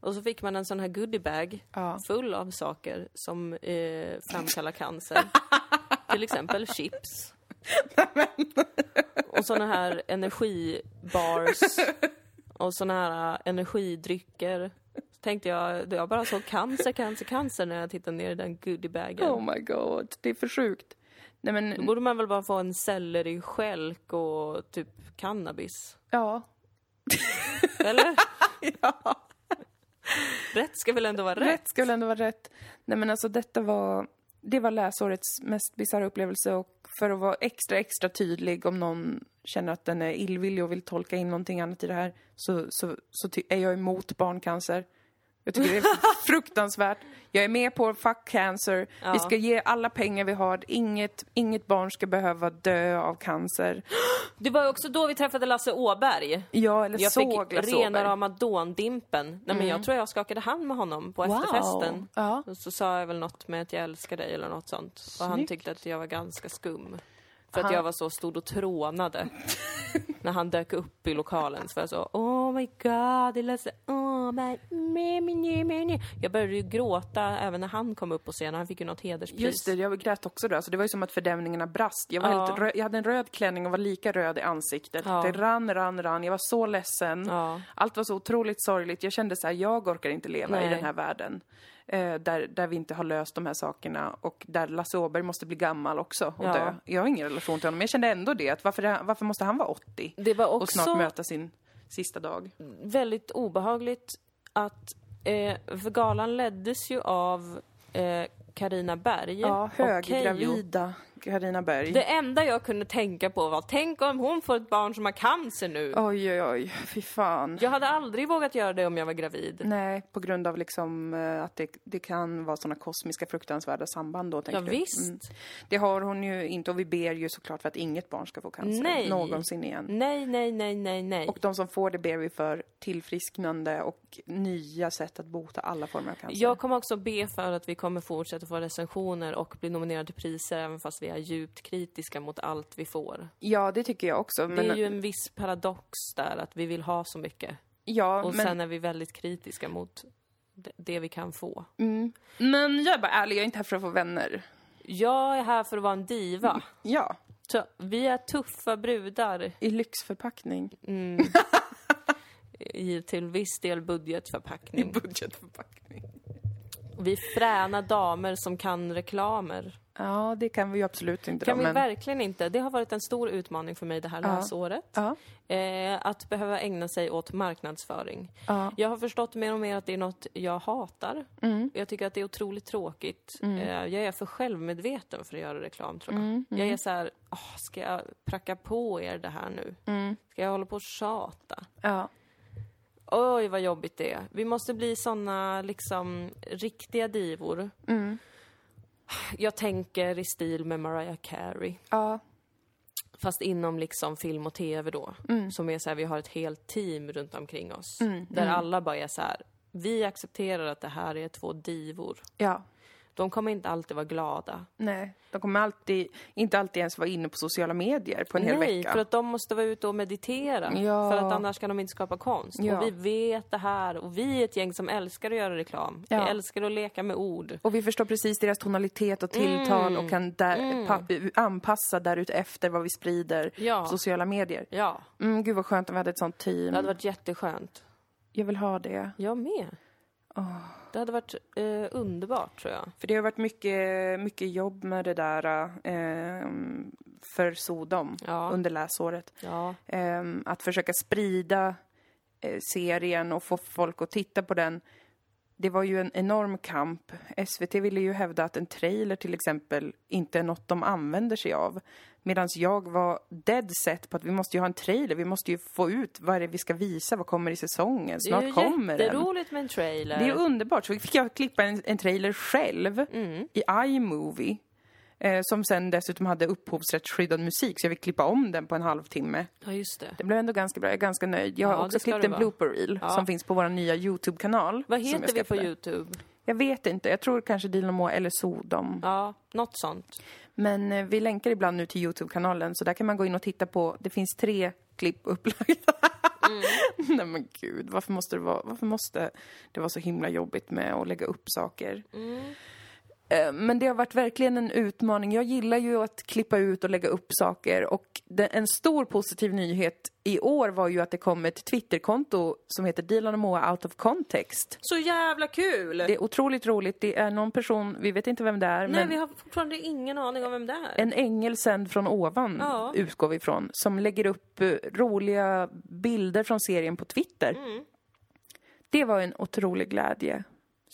Speaker 2: Och så fick man en sån här goodiebag
Speaker 1: Ja.
Speaker 2: full av saker som eh, framkallar cancer. Till exempel chips. och såna här energibars. Och såna här eh, energidrycker. Så tänkte jag, jag bara såg cancer, cancer, cancer när jag tittade ner i den goodiebagen.
Speaker 1: Oh my god, det är för sjukt. Nej
Speaker 2: Då
Speaker 1: men,
Speaker 2: borde man väl bara få en selleri-stjälk och typ cannabis.
Speaker 1: ja.
Speaker 2: Eller? Rätt ska väl ändå vara rätt?
Speaker 1: Rätt skulle ändå vara rätt. Nej men alltså detta var, det var läsårets mest bisarra upplevelse och för att vara extra, extra tydlig om någon känner att den är illvillig och vill tolka in någonting annat i det här så, så, så ty- är jag emot barncancer. Jag tycker det är fruktansvärt. Jag är med på fuck cancer. Vi ska ge alla pengar vi har. Inget, inget barn ska behöva dö av cancer.
Speaker 2: Det var ju också då vi träffade Lasse Åberg.
Speaker 1: Ja, eller
Speaker 2: Jag
Speaker 1: såg
Speaker 2: fick rena rama dåndimpen. Nej men jag tror jag skakade hand med honom på efterfesten.
Speaker 1: Ja.
Speaker 2: Och så sa jag väl något med att jag älskar dig eller något sånt. Och han
Speaker 1: Snyggt.
Speaker 2: tyckte att jag var ganska skum. För att
Speaker 1: Han-
Speaker 2: jag var så stod och trånade. När han dök upp i lokalen så var jag så Oh my god, det är Lasse Åberg. Me, me, me, me, me." Jag började ju gråta även när han kom upp på scenen. Han fick ju något hederspris.
Speaker 1: Just det, jag grät också då. Alltså, det var ju som att fördämningarna brast. Jag, var
Speaker 2: Ja.
Speaker 1: helt rö- jag hade en röd klänning och var lika röd i ansiktet.
Speaker 2: Ja.
Speaker 1: Det rann, rann, rann. Jag var så ledsen.
Speaker 2: Ja.
Speaker 1: Allt var så otroligt sorgligt. Jag kände så här, jag orkar inte leva
Speaker 2: Nej.
Speaker 1: i den här världen. Eh, där, där vi inte har löst de här sakerna och där Lasse Åberg måste bli gammal också och
Speaker 2: Ja.
Speaker 1: dö. Jag har ingen relation till honom, men jag kände ändå det. Att varför, varför måste han vara 80
Speaker 2: Det var
Speaker 1: och snart
Speaker 2: också-
Speaker 1: möta sin sista dag?
Speaker 2: väldigt obehagligt att... Eh, för galan leddes ju av eh, Carina Berg
Speaker 1: Ja,
Speaker 2: och Keyyo.
Speaker 1: höggravida Carina Berg.
Speaker 2: Det enda jag kunde tänka på var, tänk om hon får ett barn som har cancer nu.
Speaker 1: Oj, oj, oj. Fy fan.
Speaker 2: Jag hade aldrig vågat göra det om jag var gravid.
Speaker 1: Nej, på grund av liksom eh, att det, det kan vara sådana kosmiska fruktansvärda samband då, tänker
Speaker 2: Ja,
Speaker 1: du? Mm.
Speaker 2: visst.
Speaker 1: Det har hon ju inte och vi ber ju såklart för att inget barn ska få cancer
Speaker 2: Nej.
Speaker 1: Alltså, någonsin igen.
Speaker 2: Nej, nej, nej, nej, nej.
Speaker 1: Och de som får det ber vi för tillfrisknande och nya sätt att bota alla former av cancer.
Speaker 2: jag kommer också be för att vi kommer fortsätta få recensioner och bli nominerade till priser även fast vi är djupt kritiska mot allt vi får.
Speaker 1: Ja, det tycker jag också.
Speaker 2: Det
Speaker 1: Men,
Speaker 2: är ju en viss paradox där, att vi vill ha så mycket.
Speaker 1: ja,
Speaker 2: Och
Speaker 1: men,
Speaker 2: sen är vi väldigt kritiska mot det- det vi kan få.
Speaker 1: Mm. men jag är bara ärlig, jag är inte här för att få vänner.
Speaker 2: Jag är här för att vara en
Speaker 1: Mm.
Speaker 2: diva.
Speaker 1: Ja,
Speaker 2: Så vi är tuffa brudar
Speaker 1: i lyxförpackning.
Speaker 2: i till viss del
Speaker 1: Mm.
Speaker 2: budgetförpackning.
Speaker 1: Budgetförpackning.
Speaker 2: Vi är fräna damer som kan reklamer.
Speaker 1: Ja, det kan vi ju absolut inte.
Speaker 2: Kan
Speaker 1: då,
Speaker 2: vi
Speaker 1: men...
Speaker 2: verkligen inte? Det har varit en stor utmaning för mig det här läsåret.
Speaker 1: Ja.
Speaker 2: Eh, att behöva ägna sig åt marknadsföring.
Speaker 1: Ja. Mm.
Speaker 2: Jag har förstått mer och mer att det är något jag hatar. Jag tycker att det är otroligt tråkigt. Eh, jag är för självmedveten för att göra reklam tror jag.
Speaker 1: Mm.
Speaker 2: Jag är så här, "Åh, ska jag pracka på er det här nu?
Speaker 1: Mm.
Speaker 2: Ska jag hålla på och tjata?
Speaker 1: Ja.
Speaker 2: Oj, vad jobbigt det är. Vi måste bli såna liksom riktiga divor.
Speaker 1: Mm.
Speaker 2: Jag tänker i stil med Mariah Carey.
Speaker 1: ja.
Speaker 2: Fast inom liksom film och tv då. Som är så här, vi har ett helt team runt omkring oss. Där alla bara är så här, vi accepterar att det här är två divor.
Speaker 1: Ja.
Speaker 2: De kommer inte alltid vara glada.
Speaker 1: Nej, de kommer alltid, inte alltid ens vara inne på sociala medier på en hel
Speaker 2: Nej,
Speaker 1: vecka.
Speaker 2: för att de måste vara ute och meditera.
Speaker 1: Ja.
Speaker 2: För att annars kan de inte skapa konst.
Speaker 1: Ja.
Speaker 2: Och vi vet det här. Och vi är ett gäng som älskar att göra reklam.
Speaker 1: Ja.
Speaker 2: Vi älskar att leka med ord.
Speaker 1: Och vi förstår precis deras tonalitet och tilltal
Speaker 2: Mm,
Speaker 1: och kan där, pa, anpassa därutefter vad vi sprider
Speaker 2: Ja.
Speaker 1: på sociala medier.
Speaker 2: Ja,
Speaker 1: Mm, gud vad skönt om vi hade ett sånt
Speaker 2: det
Speaker 1: team.
Speaker 2: hade varit jätteskönt.
Speaker 1: Jag vill ha det.
Speaker 2: Jag med. Det hade varit eh, underbart tror jag.
Speaker 1: För det har varit mycket, mycket jobb med det där eh, för Sodom
Speaker 2: Ja.
Speaker 1: under läsåret.
Speaker 2: Ja.
Speaker 1: Ehm, att försöka sprida eh, serien och få folk att titta på den det var ju en enorm kamp. SVT ville ju hävda att en trailer till exempel inte är något de använder sig av. Medan jag var dead set på att vi måste ju ha en trailer, vi måste ju få ut vad är det vi ska visa, vad kommer i säsongen,
Speaker 4: Det är
Speaker 1: snart
Speaker 4: ju
Speaker 1: kommer den.
Speaker 4: jätteroligt med en trailer.
Speaker 1: Det är ju underbart. Så fick jag klippa en, en trailer själv
Speaker 4: Mm.
Speaker 1: i iMovie. Eh, som sen dessutom hade upphovsrättsskyddad musik så jag fick klippa om den på en halvtimme.
Speaker 4: ja, just det.
Speaker 1: Det blev ändå ganska bra, jag är ganska nöjd. Jag har
Speaker 4: Ja,
Speaker 1: också
Speaker 4: det ska
Speaker 1: klippt
Speaker 4: det
Speaker 1: en
Speaker 4: vara.
Speaker 1: blooper reel
Speaker 4: Ja.
Speaker 1: som finns på vår nya YouTube-kanal.
Speaker 4: Vad
Speaker 1: som jag
Speaker 4: heter vi på
Speaker 1: släppte.
Speaker 4: Youtube?
Speaker 1: Jag vet inte, jag tror kanske Dynamo eller Sodom.
Speaker 4: Ja, något sånt.
Speaker 1: Men eh, vi länkar ibland nu till Youtube-kanalen så där kan man gå in och titta på, det finns tre klipp upplagda.
Speaker 2: Mm.
Speaker 1: Nej men gud, varför måste, det vara, varför måste det vara så himla jobbigt med att lägga upp saker?
Speaker 2: Mm.
Speaker 1: Eh, Men det har varit verkligen en utmaning. Jag gillar ju att klippa ut och lägga upp saker och det, en stor positiv nyhet i år var ju att det kom ett Twitterkonto som heter Dilan och Moa Out of Context.
Speaker 2: Så jävla kul!
Speaker 1: Det är otroligt roligt. Det är någon person, vi vet inte vem det är,
Speaker 2: Mm. Nej,
Speaker 1: men
Speaker 2: vi har fortfarande ingen aning om vem det är.
Speaker 1: en ängel sänd från ovan
Speaker 2: Ja.
Speaker 1: utgår vi ifrån, som lägger upp eh, roliga bilder från serien på Twitter.
Speaker 2: Mm.
Speaker 1: Det var en otrolig glädje.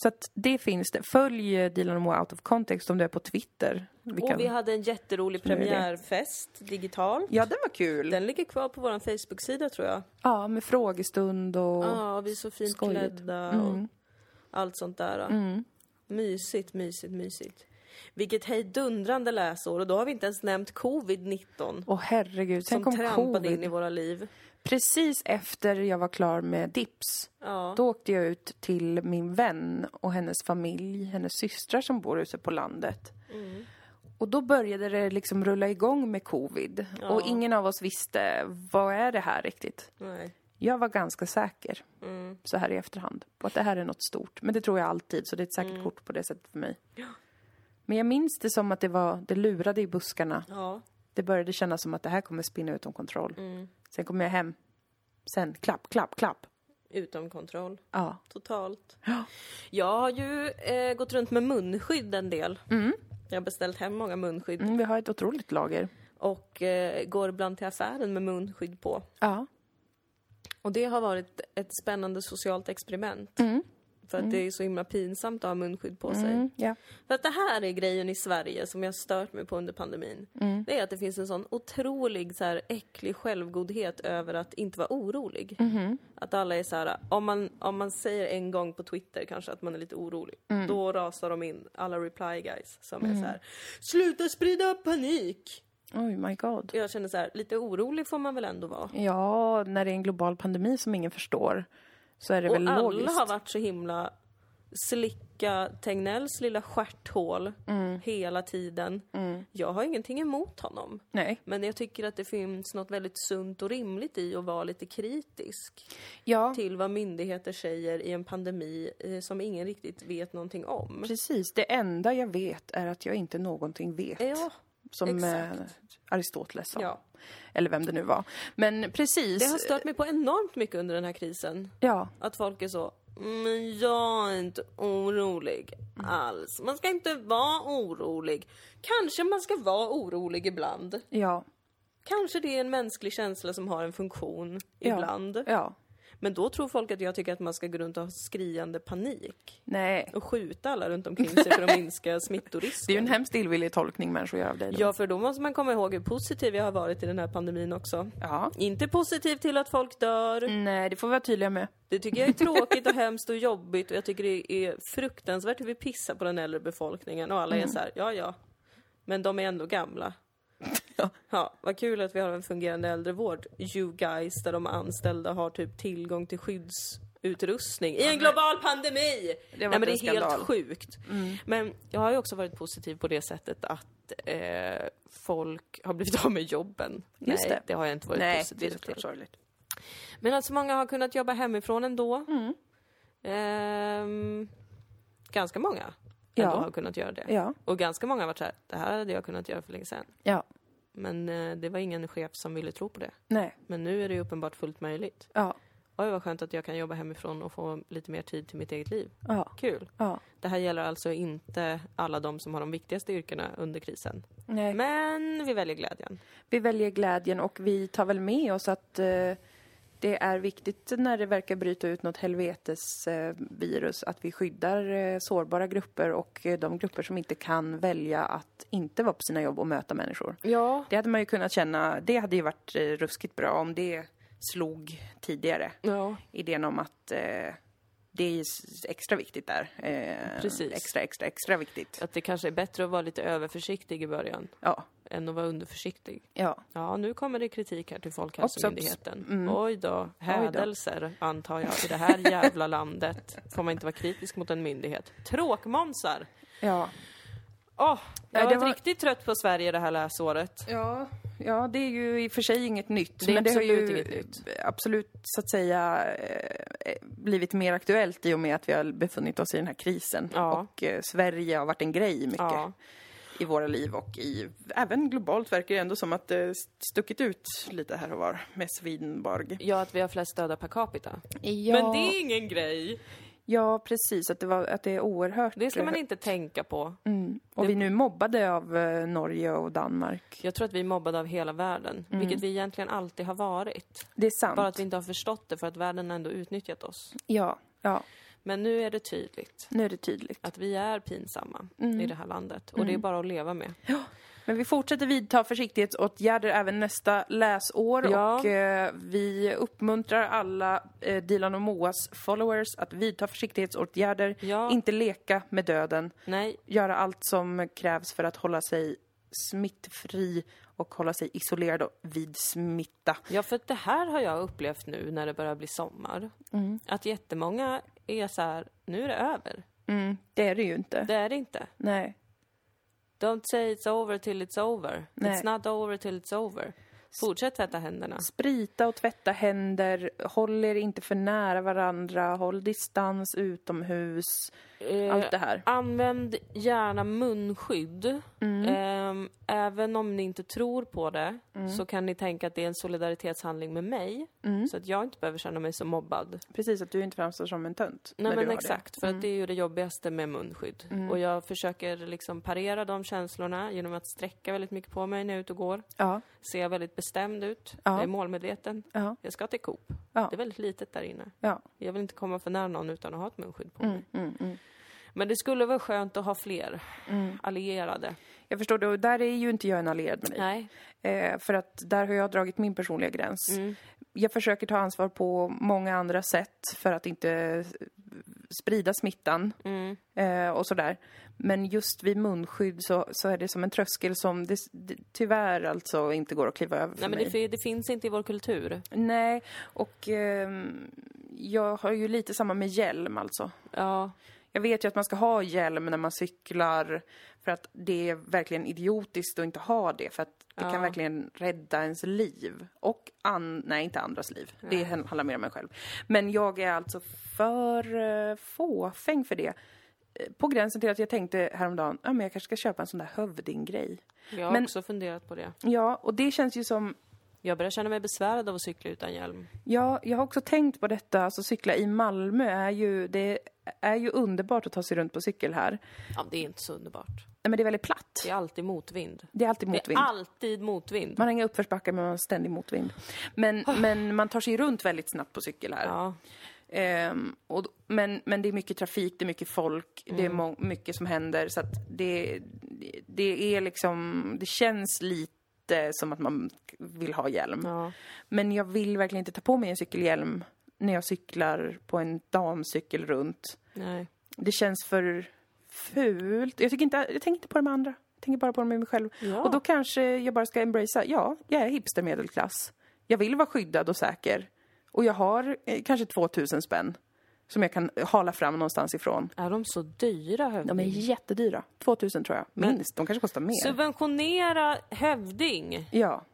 Speaker 1: Så att det finns det. Följ eh, Dilan och Moa Out of Context om du är på Twitter. Vi kan-
Speaker 2: Och vi hade en jätterolig
Speaker 1: är det.
Speaker 2: premiärfest digitalt.
Speaker 1: Ja, den var kul.
Speaker 2: Den ligger kvar på vår Facebook-sida tror jag.
Speaker 1: Ja, med frågestund och...
Speaker 2: Ja, vi är så fint
Speaker 1: skojigt.
Speaker 2: klädda och
Speaker 4: Mm.
Speaker 2: allt sånt där. Mysigt, mysigt, mysigt. Vilket hejdundrande läsår och då har vi inte ens nämnt covid-19
Speaker 1: Åh herregud, sen
Speaker 2: som
Speaker 1: kom
Speaker 2: trampade
Speaker 1: covid.
Speaker 2: in i våra liv.
Speaker 1: Precis efter jag var klar med Dips,
Speaker 2: Ja.
Speaker 1: då åkte jag ut till min vän och hennes familj, hennes systrar som bor ute på landet. Och då började det liksom rulla igång med covid och ingen av oss visste, vad är det här riktigt?
Speaker 2: Nej.
Speaker 1: Jag var ganska säker, så här i efterhand, på att det här är något stort. Men det tror jag alltid, så det är ett säkert kort på det sättet för mig. Men jag minns det som att det var, det lurade i buskarna.
Speaker 2: Ja.
Speaker 1: Det började kännas som att det här kommer spinna utom kontroll. Sen kom jag hem. Sen klapp, klapp, klapp.
Speaker 2: Utom kontroll.
Speaker 1: Ja.
Speaker 2: Totalt. Jag har ju eh, gått runt med munskydd en del. Jag har beställt hem många munskydd
Speaker 1: Mm, vi har ett otroligt lager.
Speaker 2: och eh, går ibland till affären med munskydd på.
Speaker 1: Ja.
Speaker 2: Och det har varit ett spännande socialt experiment. För att det är så himla pinsamt att ha munskydd på sig.
Speaker 1: Mm, ja.
Speaker 2: För att det här är grejen i Sverige som jag stört mig på under pandemin.
Speaker 1: Mm.
Speaker 2: Det är att det finns en sån otrolig så här, äcklig självgodhet över att inte vara orolig.
Speaker 1: Mm-hmm.
Speaker 2: Att alla är så här, om man, om man säger en gång på Twitter kanske att man är lite orolig,
Speaker 1: Mm.
Speaker 2: då rasar de in alla reply guys som är så här, sluta sprida panik!
Speaker 1: Oj, Oh my god.
Speaker 2: Jag känner så här, lite orolig får man väl ändå vara.
Speaker 1: Ja, när det är en global pandemi som ingen förstår så är det
Speaker 2: Och
Speaker 1: väl
Speaker 2: alla
Speaker 1: logiskt.
Speaker 2: har varit så himla slicka Tegnells lilla stjärthål
Speaker 1: Mm.
Speaker 2: hela tiden. Jag har ingenting emot honom.
Speaker 1: Nej.
Speaker 2: Men jag tycker att det finns något väldigt sunt och rimligt i att vara lite kritisk
Speaker 1: Ja,
Speaker 2: till vad myndigheter säger i en pandemi eh, som ingen riktigt vet någonting om.
Speaker 1: precis. Det enda jag vet är att jag inte någonting vet.
Speaker 2: Ja,
Speaker 1: som eh,
Speaker 2: exakt.
Speaker 1: Aristoteles sa.
Speaker 2: Ja.
Speaker 1: Eller vem det nu var. Men precis.
Speaker 2: Det har stört mig på enormt mycket under den här krisen.
Speaker 1: Ja,
Speaker 2: Att folk är så men jag är inte orolig alls. Man ska inte vara orolig. Kanske man ska vara orolig ibland.
Speaker 1: ja,
Speaker 2: Kanske det är en mänsklig känsla som har en funktion ibland.
Speaker 1: ja.
Speaker 2: Men då tror folk att jag tycker att man ska gå runt och ha skriande panik.
Speaker 1: Nej.
Speaker 2: och skjuta alla runt omkring sig för att
Speaker 1: Det
Speaker 2: minska
Speaker 1: är ju en
Speaker 2: smittorisken.
Speaker 1: hemskt illvillig tolkning människor gör av dig. då.
Speaker 2: Ja, för då måste man komma ihåg hur positiv jag har varit i den här pandemin också.
Speaker 1: ja. Mm,
Speaker 2: Inte positiv till att folk dör.
Speaker 1: Nej, det får vi vara tydliga med.
Speaker 2: Det tycker jag är tråkigt och hemskt och jobbigt och jag tycker det är fruktansvärt hur vi pissar på den äldre befolkningen och alla
Speaker 1: Mm.
Speaker 2: är så här, ja ja, men de är ändå gamla. Ja. vad kul att vi har en fungerande äldrevård, you guys, där de anställda har typ tillgång till skyddsutrustning i en global pandemi!
Speaker 1: var
Speaker 2: Nej men det
Speaker 1: inte
Speaker 2: är
Speaker 1: en skandal. Mm.
Speaker 2: helt sjukt. Men jag har ju också varit positiv på det sättet att eh, folk har blivit av med jobben.
Speaker 1: Just
Speaker 2: Nej,
Speaker 1: det.
Speaker 2: det har jag inte varit positiv till.
Speaker 1: sorgligt.
Speaker 2: Men att så många har kunnat jobba hemifrån ändå.
Speaker 1: Mm.
Speaker 2: Ehm, ganska många
Speaker 1: Ja.
Speaker 2: ändå har kunnat göra det.
Speaker 1: Ja.
Speaker 2: Och ganska många har varit så här, det här hade jag kunnat göra för länge sedan.
Speaker 1: Ja.
Speaker 2: Men eh, det var ingen chef som ville tro på det.
Speaker 1: Nej.
Speaker 2: Men nu är det ju uppenbart fullt möjligt.
Speaker 1: Ja.
Speaker 2: Oj, vad skönt att jag kan jobba hemifrån och få lite mer tid till mitt eget liv.
Speaker 1: Ja.
Speaker 2: Kul.
Speaker 1: Ja.
Speaker 2: Det här gäller alltså inte alla de som har de viktigaste yrkena under krisen.
Speaker 1: Nej.
Speaker 2: Men vi väljer glädjen.
Speaker 1: Vi väljer glädjen och vi tar väl med oss att eh, Det är viktigt när det verkar bryta ut något helvetes eh, virus att vi skyddar eh, sårbara grupper och eh, de grupper som inte kan välja att inte vara på sina jobb och möta människor.
Speaker 2: Ja.
Speaker 1: Det hade man ju kunnat känna, det hade ju varit eh, ruskigt bra om det slog tidigare.
Speaker 2: Ja.
Speaker 1: Idén om att eh, det är s- extra viktigt där. Eh,
Speaker 2: Precis.
Speaker 1: Extra, extra, extra viktigt.
Speaker 2: Att det kanske är bättre att vara lite överförsiktig i början
Speaker 1: Ja.
Speaker 2: än att vara underförsiktig.
Speaker 1: ja.
Speaker 2: Ja, nu kommer det kritik här till Folkhälsomyndigheten. Mm. Oj då, hädelser antar jag i det här jävla landet. Får man inte vara kritisk mot en myndighet. Tråkmånsar!
Speaker 1: ja.
Speaker 2: Åh, jag
Speaker 1: det
Speaker 2: har varit
Speaker 1: var-
Speaker 2: riktigt trött på Sverige det här läsåret.
Speaker 1: Ja, ja, det är ju i och för sig inget nytt.
Speaker 2: Det är
Speaker 1: men det har ju
Speaker 2: absolut inget nytt.
Speaker 1: absolut, så att säga, eh, blivit mer aktuellt i och med att vi har befunnit oss i den här krisen.
Speaker 2: Ja.
Speaker 1: Och eh, Sverige har varit en grej mycket
Speaker 2: Ja.
Speaker 1: i våra liv och i, även globalt verkar det ändå som att det stuckit ut lite här och var med Swedenborg.
Speaker 2: Ja, att vi har flest döda per capita.
Speaker 1: Ja,
Speaker 2: Men det är ingen grej!
Speaker 1: ja precis, att det, var, att det är oerhört...
Speaker 2: Det ska man inte tänka på.
Speaker 1: Mm. Och vi nu mobbade av eh, Norge och Danmark.
Speaker 2: Jag tror att vi är mobbade av hela världen, vilket vi egentligen alltid har varit.
Speaker 1: Det är sant.
Speaker 2: Bara typ. att vi inte har förstått det för att världen har ändå utnyttjat oss.
Speaker 1: Ja, ja,
Speaker 2: Men nu är det tydligt
Speaker 1: nu är det tydligt.
Speaker 2: att vi är pinsamma i det här landet och det är bara att leva med.
Speaker 1: Men vi fortsätter vidta försiktighetsåtgärder även nästa läsår
Speaker 2: Ja.
Speaker 1: och eh, vi uppmuntrar alla eh, Dilan och Moas followers att vidta försiktighetsåtgärder,
Speaker 2: Ja.
Speaker 1: inte leka med döden,
Speaker 2: Nej,
Speaker 1: göra allt som krävs för att hålla sig smittfri och hålla sig isolerad och vid smitta.
Speaker 2: Ja, för att det här har jag upplevt nu när det börjar bli sommar. Att jättemånga är så här, nu är det över.
Speaker 1: Mm, det är det ju inte.
Speaker 2: Det är det inte.
Speaker 1: Nej.
Speaker 2: Don't say it's over till it's over.
Speaker 1: Nej.
Speaker 2: It's not over till it's over. Fortsätt tvätta händerna.
Speaker 1: Sprita och tvätta händer, håll er inte för nära varandra, håll distans utomhus,
Speaker 2: Eh,
Speaker 1: allt det här.
Speaker 2: Använd gärna munskydd.
Speaker 1: Mm.
Speaker 2: Ehm, även om ni inte tror på det
Speaker 1: Mm.
Speaker 2: så kan ni tänka att det är en solidaritetshandling med mig. Så att jag inte behöver känna mig så mobbad.
Speaker 1: Precis, att du inte framstår som en tönt.
Speaker 2: Nej
Speaker 1: när du
Speaker 2: men
Speaker 1: har Mm.
Speaker 2: exakt, för att det är ju det jobbigaste med munskydd. Och jag försöker liksom parera de känslorna genom att sträcka väldigt mycket på mig när jag är ute och går.
Speaker 1: Det. Ja,
Speaker 2: Ser väldigt bestämd ut,
Speaker 1: Ja.
Speaker 2: jag är målmedveten.
Speaker 1: ja,
Speaker 2: Jag ska till Coop.
Speaker 1: Ja.
Speaker 2: Det är väldigt litet där inne.
Speaker 1: ja.
Speaker 2: Jag vill inte komma för nära någon utan att ha ett munskydd på mig.
Speaker 1: Mm, mm.
Speaker 2: Men det skulle vara skönt att ha fler allierade.
Speaker 1: Jag förstår det, och där är ju inte jag en allierad med dig.
Speaker 2: Nej.
Speaker 1: Eh, för att där har jag dragit min personliga gräns.
Speaker 2: Mm.
Speaker 1: Jag försöker ta ansvar på många andra sätt för att inte eh, sprida smittan
Speaker 2: Mm.
Speaker 1: eh, och sådär. Men just vid munskydd så, så är det som en tröskel som det, det, tyvärr alltså inte går att kliva över för
Speaker 2: Nej men
Speaker 1: mig.
Speaker 2: det, fi- det finns inte i vår kultur.
Speaker 1: Nej, och ehm, jag har ju lite samma med hjälm alltså.
Speaker 2: Ja.
Speaker 1: Jag vet ju att man ska ha hjälm när man cyklar för att det är verkligen idiotiskt att inte ha det för att det kan verkligen rädda ens liv. Och an... Nej, inte andras liv. Det handlar mer om en själv. Men jag är alltså för eh, fåfäng för det. Eh, På gränsen till att jag tänkte häromdagen, ja men jag kanske ska köpa en sån där hövdinggrej.
Speaker 2: Jag har
Speaker 1: Men-
Speaker 2: också funderat på det.
Speaker 1: Ja, och det känns ju som
Speaker 2: Jag börjar känna mig besvärad av att cykla utan hjälm.
Speaker 1: Ja, jag har också tänkt på detta. Alltså cykla i Malmö är ju, det är ju underbart att ta sig runt på cykel här.
Speaker 2: Ja, det är inte så underbart.
Speaker 1: Nej, Men det är väldigt platt.
Speaker 2: Det är alltid motvind.
Speaker 1: Det är alltid
Speaker 2: Det
Speaker 1: motvind.
Speaker 2: är alltid motvind.
Speaker 1: Man har inga uppförsbackar men man har ständig motvind. Men, men man tar sig runt väldigt snabbt på cykel här.
Speaker 2: Ah. Ja.
Speaker 1: Ehm, och, d- men, men det är mycket trafik, det är mycket folk, det
Speaker 2: Mm.
Speaker 1: är må- mycket som händer. Så att det, det- det är liksom, det känns lite som att man vill ha hjälm.
Speaker 2: Ja.
Speaker 1: Men jag vill verkligen inte ta på mig en cykelhjälm när jag cyklar på en damcykel runt.
Speaker 2: Nej.
Speaker 1: Det känns för fult. Jag, tycker inte, jag tänker inte på de andra. Jag tänker bara på dem med mig själv.
Speaker 2: Ja.
Speaker 1: Och då kanske jag bara ska embracea. Ja, jag är hipstermedelklass. Jag vill vara skyddad och säker. Och jag har eh, kanske 2000 spänn som jag kan hala fram någonstans ifrån.
Speaker 2: Är de så dyra hövding?
Speaker 1: De är jättedyra. 2000 tror jag. Minst. De kanske kostar mer.
Speaker 2: Subventionera hövding!
Speaker 1: ja.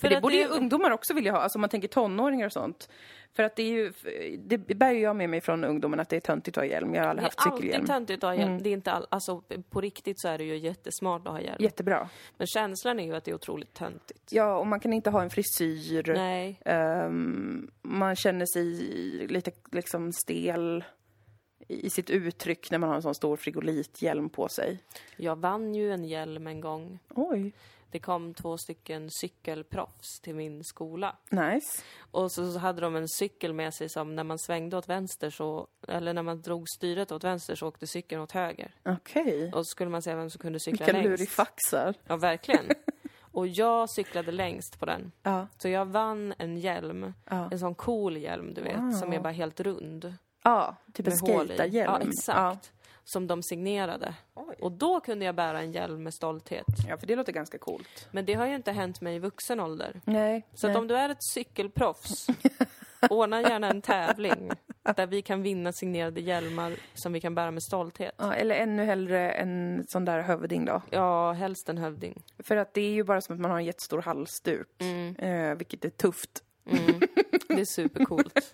Speaker 2: För
Speaker 1: det
Speaker 2: att
Speaker 1: borde
Speaker 2: det-
Speaker 1: ju ungdomar också vilja ha, alltså om man tänker tonåringar och sånt. För att det är ju, det bär ju jag med mig från ungdomen att det är töntigt att ha hjälm. Jag har aldrig
Speaker 2: Det är
Speaker 1: haft cykelhjälm. Mm.
Speaker 2: alltid töntigt att ha hjälm. Det är inte all... alltså, på riktigt så är det ju jättesmart att ha hjälm.
Speaker 1: Jättebra.
Speaker 2: Men känslan är ju att det är otroligt töntigt.
Speaker 1: Ja, och man kan inte ha en frisyr.
Speaker 2: Nej.
Speaker 1: Ehm, man känner sig lite liksom stel i i sitt uttryck när man har en sån stor frigolithjälm på sig.
Speaker 2: Jag vann ju en hjälm en gång.
Speaker 1: Oj.
Speaker 2: Det kom två stycken cykelproffs till min skola.
Speaker 1: Nice.
Speaker 2: Och så, så hade de en cykel med sig som när man svängde åt vänster så, eller när man drog styret åt vänster så åkte cykeln åt höger.
Speaker 1: Okej.
Speaker 2: Och så skulle man se vem som kunde cykla
Speaker 1: Vilka
Speaker 2: längst.
Speaker 1: lurifaxar.
Speaker 2: Ja, verkligen. Och jag cyklade längst på den.
Speaker 1: Ja.
Speaker 2: Så jag vann en hjälm.
Speaker 1: Ja.
Speaker 2: En sån cool hjälm, du vet, som är bara helt rund.
Speaker 1: Ja, typ en
Speaker 2: med hål i.
Speaker 1: skejtarhjälm.
Speaker 2: Ja, exakt. Som de signerade. Och då kunde jag bära en hjälm med stolthet.
Speaker 1: Ja. ja, för det låter ganska coolt.
Speaker 2: Men det har ju inte hänt mig i vuxen ålder.
Speaker 1: Nej.
Speaker 2: Så att om du är ett cykelproffs, ordna gärna en tävling där vi kan vinna signerade hjälmar som vi kan bära med stolthet.
Speaker 1: Ja, eller ännu hellre en sån där hövding då.
Speaker 2: Ja, helst en hövding.
Speaker 1: För att det är ju bara som att man har en jättestor halsduk. Eh, vilket är tufft.
Speaker 2: Det är supercoolt.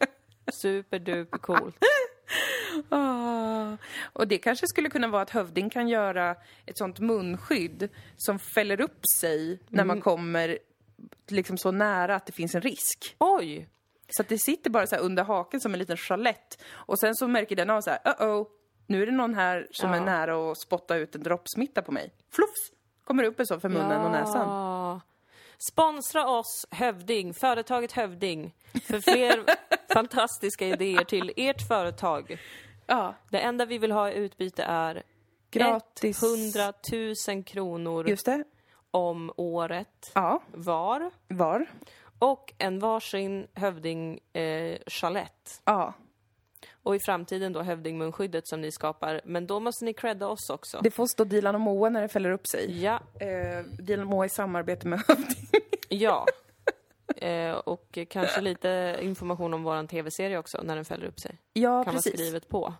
Speaker 2: Superdupercoolt.
Speaker 1: Ah. Och det kanske skulle kunna vara att hövding kan göra ett sånt munskydd som fäller upp sig när man kommer liksom så nära att det finns en risk.
Speaker 2: Oj!
Speaker 1: Så att det sitter bara så här under haken som en liten chalett. Och sen så märker den av så här, uh-oh, nu är det någon här som
Speaker 2: Ja.
Speaker 1: är nära att spotta ut en droppsmitta på mig. Fluffs! Kommer det upp en sån för munnen och näsan.
Speaker 2: Ja. Sponsra oss, Hövding, företaget Hövding, för fler fantastiska idéer till ert företag.
Speaker 1: Ja,
Speaker 2: Det enda vi vill ha i utbyte är
Speaker 1: gratis.
Speaker 2: 100 000 kronor
Speaker 1: Just det.
Speaker 2: om året
Speaker 1: Ja,
Speaker 2: var
Speaker 1: var.
Speaker 2: och en varsin hövding eh, chalett.
Speaker 1: Ja,
Speaker 2: Och i framtiden då hövdingmunskyddet som ni skapar. Men då måste ni credda oss också.
Speaker 1: det får stå Dilan och Moa när det fäller upp sig.
Speaker 2: Ja,
Speaker 1: Eh, Dilan och Moa i samarbete med hövding.
Speaker 2: ja. Eh, och kanske lite information om våran tv-serie också när den fäller upp sig.
Speaker 1: Ja,
Speaker 2: kan vara
Speaker 1: precis.
Speaker 2: skrivet på.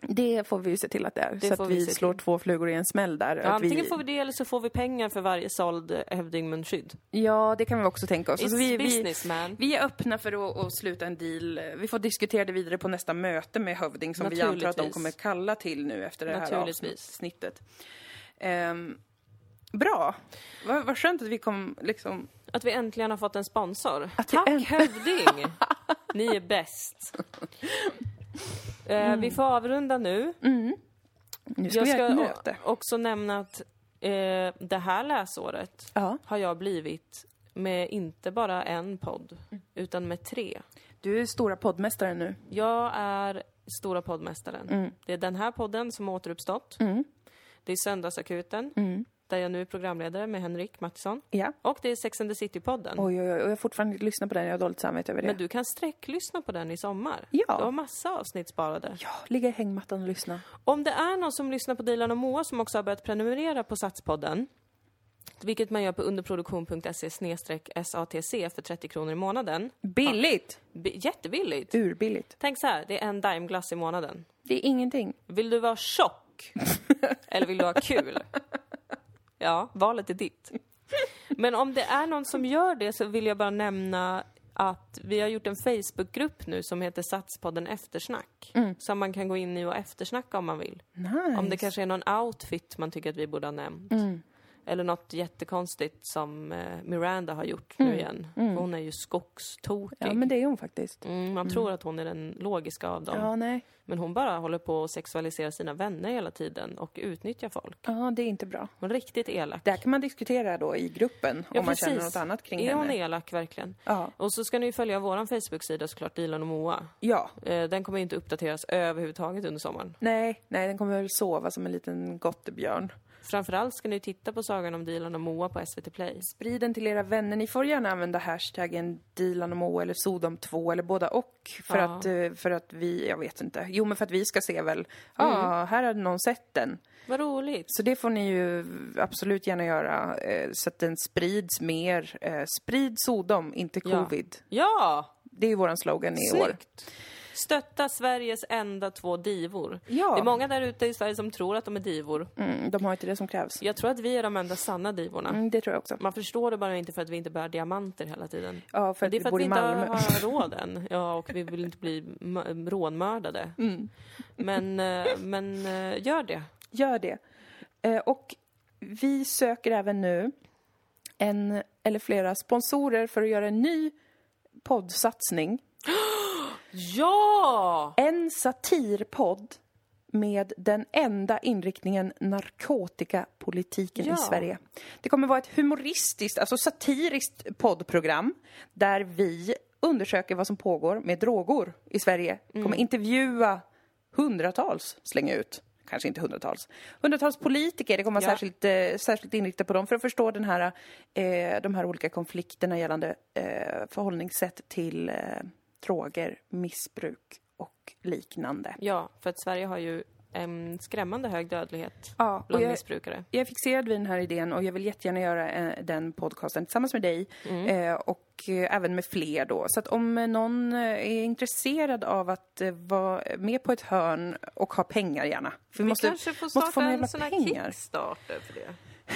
Speaker 1: Det får vi ju se till att det är. så
Speaker 2: får
Speaker 1: att
Speaker 2: vi
Speaker 1: vi
Speaker 2: se
Speaker 1: slår två flugor i en smäll där.
Speaker 2: Ja,
Speaker 1: att vi...
Speaker 2: antingen får vi det eller så får vi pengar för varje såld eh, hövdingmunskydd.
Speaker 1: ja det kan vi också tänka oss.
Speaker 2: It's
Speaker 1: Alltså, vi, vi,
Speaker 2: business man.
Speaker 1: vi är öppna för att, att sluta en deal. Vi får diskutera det vidare på nästa möte med Hövding som vi antar att de
Speaker 2: Naturligtvis.
Speaker 1: kommer kalla till nu efter det här
Speaker 2: Naturligtvis.
Speaker 1: avsnittet. Ehm, bra. Vad vad skönt att vi kom liksom...
Speaker 2: Att vi äntligen har fått en sponsor.
Speaker 1: Att vi
Speaker 2: Tack
Speaker 1: änt-
Speaker 2: Hövding! Ni är bäst. Eh, Vi får avrunda nu.
Speaker 1: Nu ska Mm.
Speaker 2: jag
Speaker 1: vi ha
Speaker 2: ska
Speaker 1: ett
Speaker 2: o-
Speaker 1: möte.
Speaker 2: också nämna att eh, det här läsåret
Speaker 1: Ja.
Speaker 2: har jag blivit med inte bara en podd,
Speaker 1: Mm.
Speaker 2: utan med tre.
Speaker 1: Du är stora poddmästaren nu.
Speaker 2: Jag är stora poddmästaren.
Speaker 1: Mm.
Speaker 2: Det är den här podden som har återuppstått. Det är Söndagsakuten, där jag nu är programledare med Henrik Mattisson.
Speaker 1: Mm. Ja.
Speaker 2: Och det är Sex and the City-podden.
Speaker 1: Oj, oj, oj. Och jag har fortfarande inte lyssnat på den. Jag har dåligt samvete över det.
Speaker 2: Men du kan sträcklyssna på den i sommar.
Speaker 1: Ja.
Speaker 2: Jag har massa avsnitt sparade.
Speaker 1: Ja, ligga i hängmattan och lyssna.
Speaker 2: Om det är någon som lyssnar på Dilan och Moa som också har börjat prenumerera på Satspodden, vilket man gör på underproduktion.se satc för 30 kronor i månaden.
Speaker 1: Billigt!
Speaker 2: B- jättebilligt!
Speaker 1: Urbilligt.
Speaker 2: Tänk så här, det är en daimglass i månaden.
Speaker 1: Det är ingenting.
Speaker 2: Vill du vara tjock? Eller vill du ha kul? Ja, valet är ditt. Men om det är någon som gör det så vill jag bara nämna att vi har gjort en Facebookgrupp nu som heter Satspodden Eftersnack. Som man kan gå in i och eftersnacka om man vill.
Speaker 1: Mm. Nice. Mm.
Speaker 2: Om det kanske är någon outfit man tycker att vi borde ha nämnt. Eller något jättekonstigt som eh, Miranda har gjort nu igen. För hon är ju skogstokig.
Speaker 1: Mm. Ja, men det är hon faktiskt.
Speaker 2: mm, man tror att hon är den logiska av dem.
Speaker 1: Ja, nej.
Speaker 2: Men hon bara håller på att sexualisera sina vänner hela tiden och utnyttjar folk.
Speaker 1: Ja, det är inte bra.
Speaker 2: Hon är riktigt elak.
Speaker 1: Det här kan man diskutera då i gruppen
Speaker 2: Ja,
Speaker 1: om man känner
Speaker 2: precis.
Speaker 1: något annat kring
Speaker 2: är
Speaker 1: henne.
Speaker 2: hon elak verkligen?
Speaker 1: Ja.
Speaker 2: Och så ska ni ju följa vår Facebook-sida såklart, Dilan och Moa.
Speaker 1: Ja.
Speaker 2: Eh, Den kommer inte uppdateras överhuvudtaget under sommaren.
Speaker 1: Nej, nej, den kommer väl sova som en liten gottebjörn.
Speaker 2: Framförallt ska ni ju titta på sagan om Dilan och Moa på SVT Play.
Speaker 1: Sprid den till era vänner. Ni får gärna använda hashtaggen Dilan och Moa eller Sodom 2 eller båda och. För,
Speaker 2: Ja. Mm.
Speaker 1: att, eh, för att vi, jag vet inte. Jo, men för att vi ska se väl, ja, här hade någon sett den.
Speaker 2: Vad roligt!
Speaker 1: Så det får ni ju absolut gärna göra eh, så att den sprids mer. Eh, Sprid Sodom, inte
Speaker 2: Ja.
Speaker 1: covid.
Speaker 2: Ja!
Speaker 1: Det är ju våran slogan i år.
Speaker 2: Snyggt! Stötta Sveriges enda två divor.
Speaker 1: Ja.
Speaker 2: Det är många där ute i Sverige som tror att de är divor.
Speaker 1: Mm, de har inte det som krävs.
Speaker 2: Jag tror att vi är de enda sanna divorna.
Speaker 1: Mm, det tror jag också.
Speaker 2: Man förstår det bara inte för att vi inte bär diamanter hela tiden.
Speaker 1: Ja, för
Speaker 2: Men
Speaker 1: att
Speaker 2: det är
Speaker 1: vi
Speaker 2: för att
Speaker 1: bor
Speaker 2: vi
Speaker 1: i
Speaker 2: inte
Speaker 1: Malmö.
Speaker 2: har råd än. Ja, och vi vill inte bli m- rånmördade.
Speaker 1: Mm.
Speaker 2: Men, eh, men eh, gör det.
Speaker 1: Gör det. Eh, Och vi söker även nu en eller flera sponsorer för att göra en ny poddsatsning.
Speaker 2: Ja!
Speaker 1: En satirpodd med den enda inriktningen narkotikapolitiken
Speaker 2: Ja.
Speaker 1: i Sverige. Det kommer vara ett humoristiskt, alltså satiriskt poddprogram där vi undersöker vad som pågår med droger i Sverige. Kommer intervjua hundratals, slänga ut, kanske inte hundratals, hundratals politiker. Det kommer vara
Speaker 2: Ja.
Speaker 1: särskilt, eh, särskilt inriktat på dem för att förstå den här, eh, de här olika konflikterna gällande eh, förhållningssätt till eh, droger, missbruk och liknande.
Speaker 2: Ja, för att Sverige har ju en skrämmande hög dödlighet
Speaker 1: Ja, och
Speaker 2: bland
Speaker 1: jag,
Speaker 2: missbrukare.
Speaker 1: jag är fixerad vid den här idén och jag vill jättegärna göra eh, den podcasten tillsammans med dig
Speaker 2: Mm.
Speaker 1: eh, och eh, även med fler då. Så att om eh, någon eh, är intresserad av att eh, vara med på ett hörn och ha pengar gärna. För vi,
Speaker 2: Vi
Speaker 1: måste,
Speaker 2: kanske får
Speaker 1: måste få
Speaker 2: starta
Speaker 1: några
Speaker 2: en
Speaker 1: jävla
Speaker 2: sån här
Speaker 1: pengar. Eh.
Speaker 2: kickstarter för det.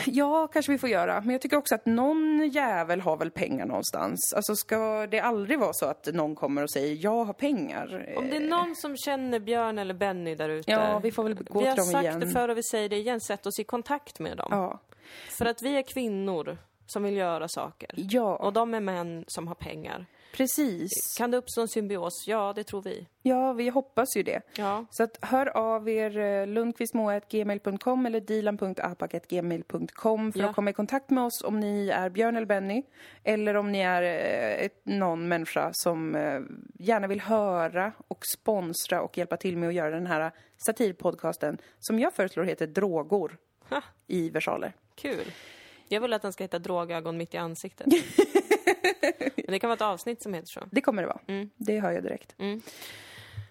Speaker 1: Ja, kanske vi får göra. Men jag tycker också att någon jävel har väl pengar någonstans. Alltså ska det aldrig vara så att någon kommer och säger jag har pengar?
Speaker 2: Om det är någon som känner Björn eller Benny där ute.
Speaker 1: Ja, vi får väl gå
Speaker 2: vi
Speaker 1: till
Speaker 2: har
Speaker 1: dem
Speaker 2: sagt
Speaker 1: igen.
Speaker 2: det förr och vi säger det igen, sätt oss i kontakt med dem.
Speaker 1: Ja.
Speaker 2: För att vi är kvinnor som vill göra saker.
Speaker 1: Ja,
Speaker 2: Och de är män som har pengar.
Speaker 1: precis.
Speaker 2: Kan det uppstå en symbios? Ja, det tror vi.
Speaker 1: Ja, vi hoppas ju det.
Speaker 2: Ja.
Speaker 1: Så att hör av er eh, lundqvistmoa.gmail.com eller dilan.apak.gmail.com för
Speaker 2: Ja.
Speaker 1: att komma i kontakt med oss om ni är Björn eller Benny. Eller om ni är eh, ett, någon människa som eh, gärna vill höra och sponsra och hjälpa till med att göra den här satirpodcasten som jag föreslår heter Drogor
Speaker 2: Ha,
Speaker 1: i versaler.
Speaker 2: kul. Jag vill att den ska heta drogögon mitt i ansiktet. Men det kan vara ett avsnitt som heter så.
Speaker 1: Det kommer det vara. Det hör jag direkt.
Speaker 2: Mm.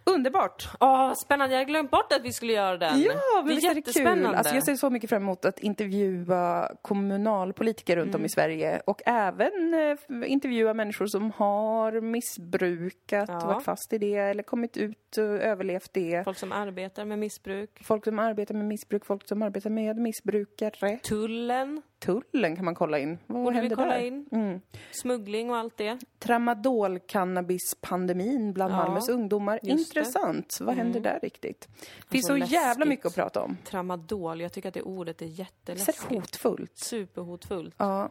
Speaker 1: Underbart!
Speaker 2: Åh, spännande! Jag hade glömt bort att vi skulle göra den.
Speaker 1: Ja, men
Speaker 2: det
Speaker 1: visst är
Speaker 2: är
Speaker 1: det kul?
Speaker 2: jättespännande.
Speaker 1: Alltså jag ser så mycket fram emot att intervjua kommunalpolitiker runt
Speaker 2: Mm.
Speaker 1: om i Sverige och även eh, intervjua människor som har missbrukat,
Speaker 2: Ja.
Speaker 1: varit fast i det eller kommit ut och överlevt det.
Speaker 2: Folk som arbetar med missbruk.
Speaker 1: Folk som arbetar med missbruk, folk som arbetar med missbrukare.
Speaker 2: Tullen
Speaker 1: Tullen kan man kolla in. Vad
Speaker 2: borde vi
Speaker 1: händer
Speaker 2: kolla
Speaker 1: där?
Speaker 2: in.
Speaker 1: Mm.
Speaker 2: Smuggling och allt det.
Speaker 1: Tramadol-cannabis-pandemin bland
Speaker 2: Ja,
Speaker 1: Malmös ungdomar.
Speaker 2: just det. Mm.
Speaker 1: Intressant. Vad händer där riktigt? Det finns
Speaker 2: Alltså,
Speaker 1: så jävla
Speaker 2: läskigt.
Speaker 1: mycket att prata om.
Speaker 2: Tramadol, jag tycker att det ordet är
Speaker 1: Visst är det
Speaker 2: jätteläskigt.
Speaker 1: hotfullt?
Speaker 2: Superhotfullt.
Speaker 1: Ja.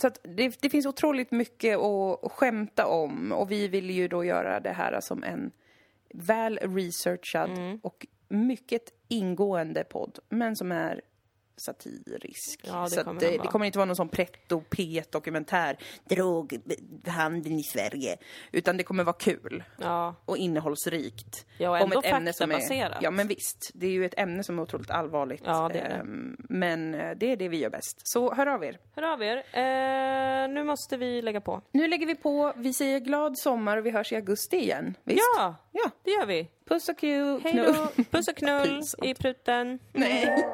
Speaker 1: Så att det, det finns otroligt mycket att skämta om och vi vill ju då göra det här som en väl researchad
Speaker 2: Mm.
Speaker 1: och mycket ingående podd, men som är satirisk.
Speaker 2: Ja, det
Speaker 1: så
Speaker 2: kommer
Speaker 1: att det,
Speaker 2: den
Speaker 1: det
Speaker 2: vara.
Speaker 1: kommer inte vara någon sån pretto pet dokumentär droghandeln i Sverige, utan det kommer vara kul
Speaker 2: Ja,
Speaker 1: och innehållsrikt.
Speaker 2: Ja, och ändå
Speaker 1: är,
Speaker 2: faktabaserat.
Speaker 1: Ja, men visst. Det är ju ett ämne som är otroligt allvarligt.
Speaker 2: Ja, det är det.
Speaker 1: Ehm, Men eh, det är det vi gör bäst. Så hör av er.
Speaker 2: hör av er. Eh, nu måste vi lägga på.
Speaker 1: Nu lägger vi på. Vi säger glad sommar och vi hörs i augusti igen. Visst?
Speaker 2: Ja,
Speaker 1: Ja.
Speaker 2: det gör vi.
Speaker 1: Puss och kul.
Speaker 2: Hej
Speaker 1: knull.
Speaker 2: då! Puss och knull
Speaker 1: Pinsamt.
Speaker 2: i pruten.
Speaker 1: Nej.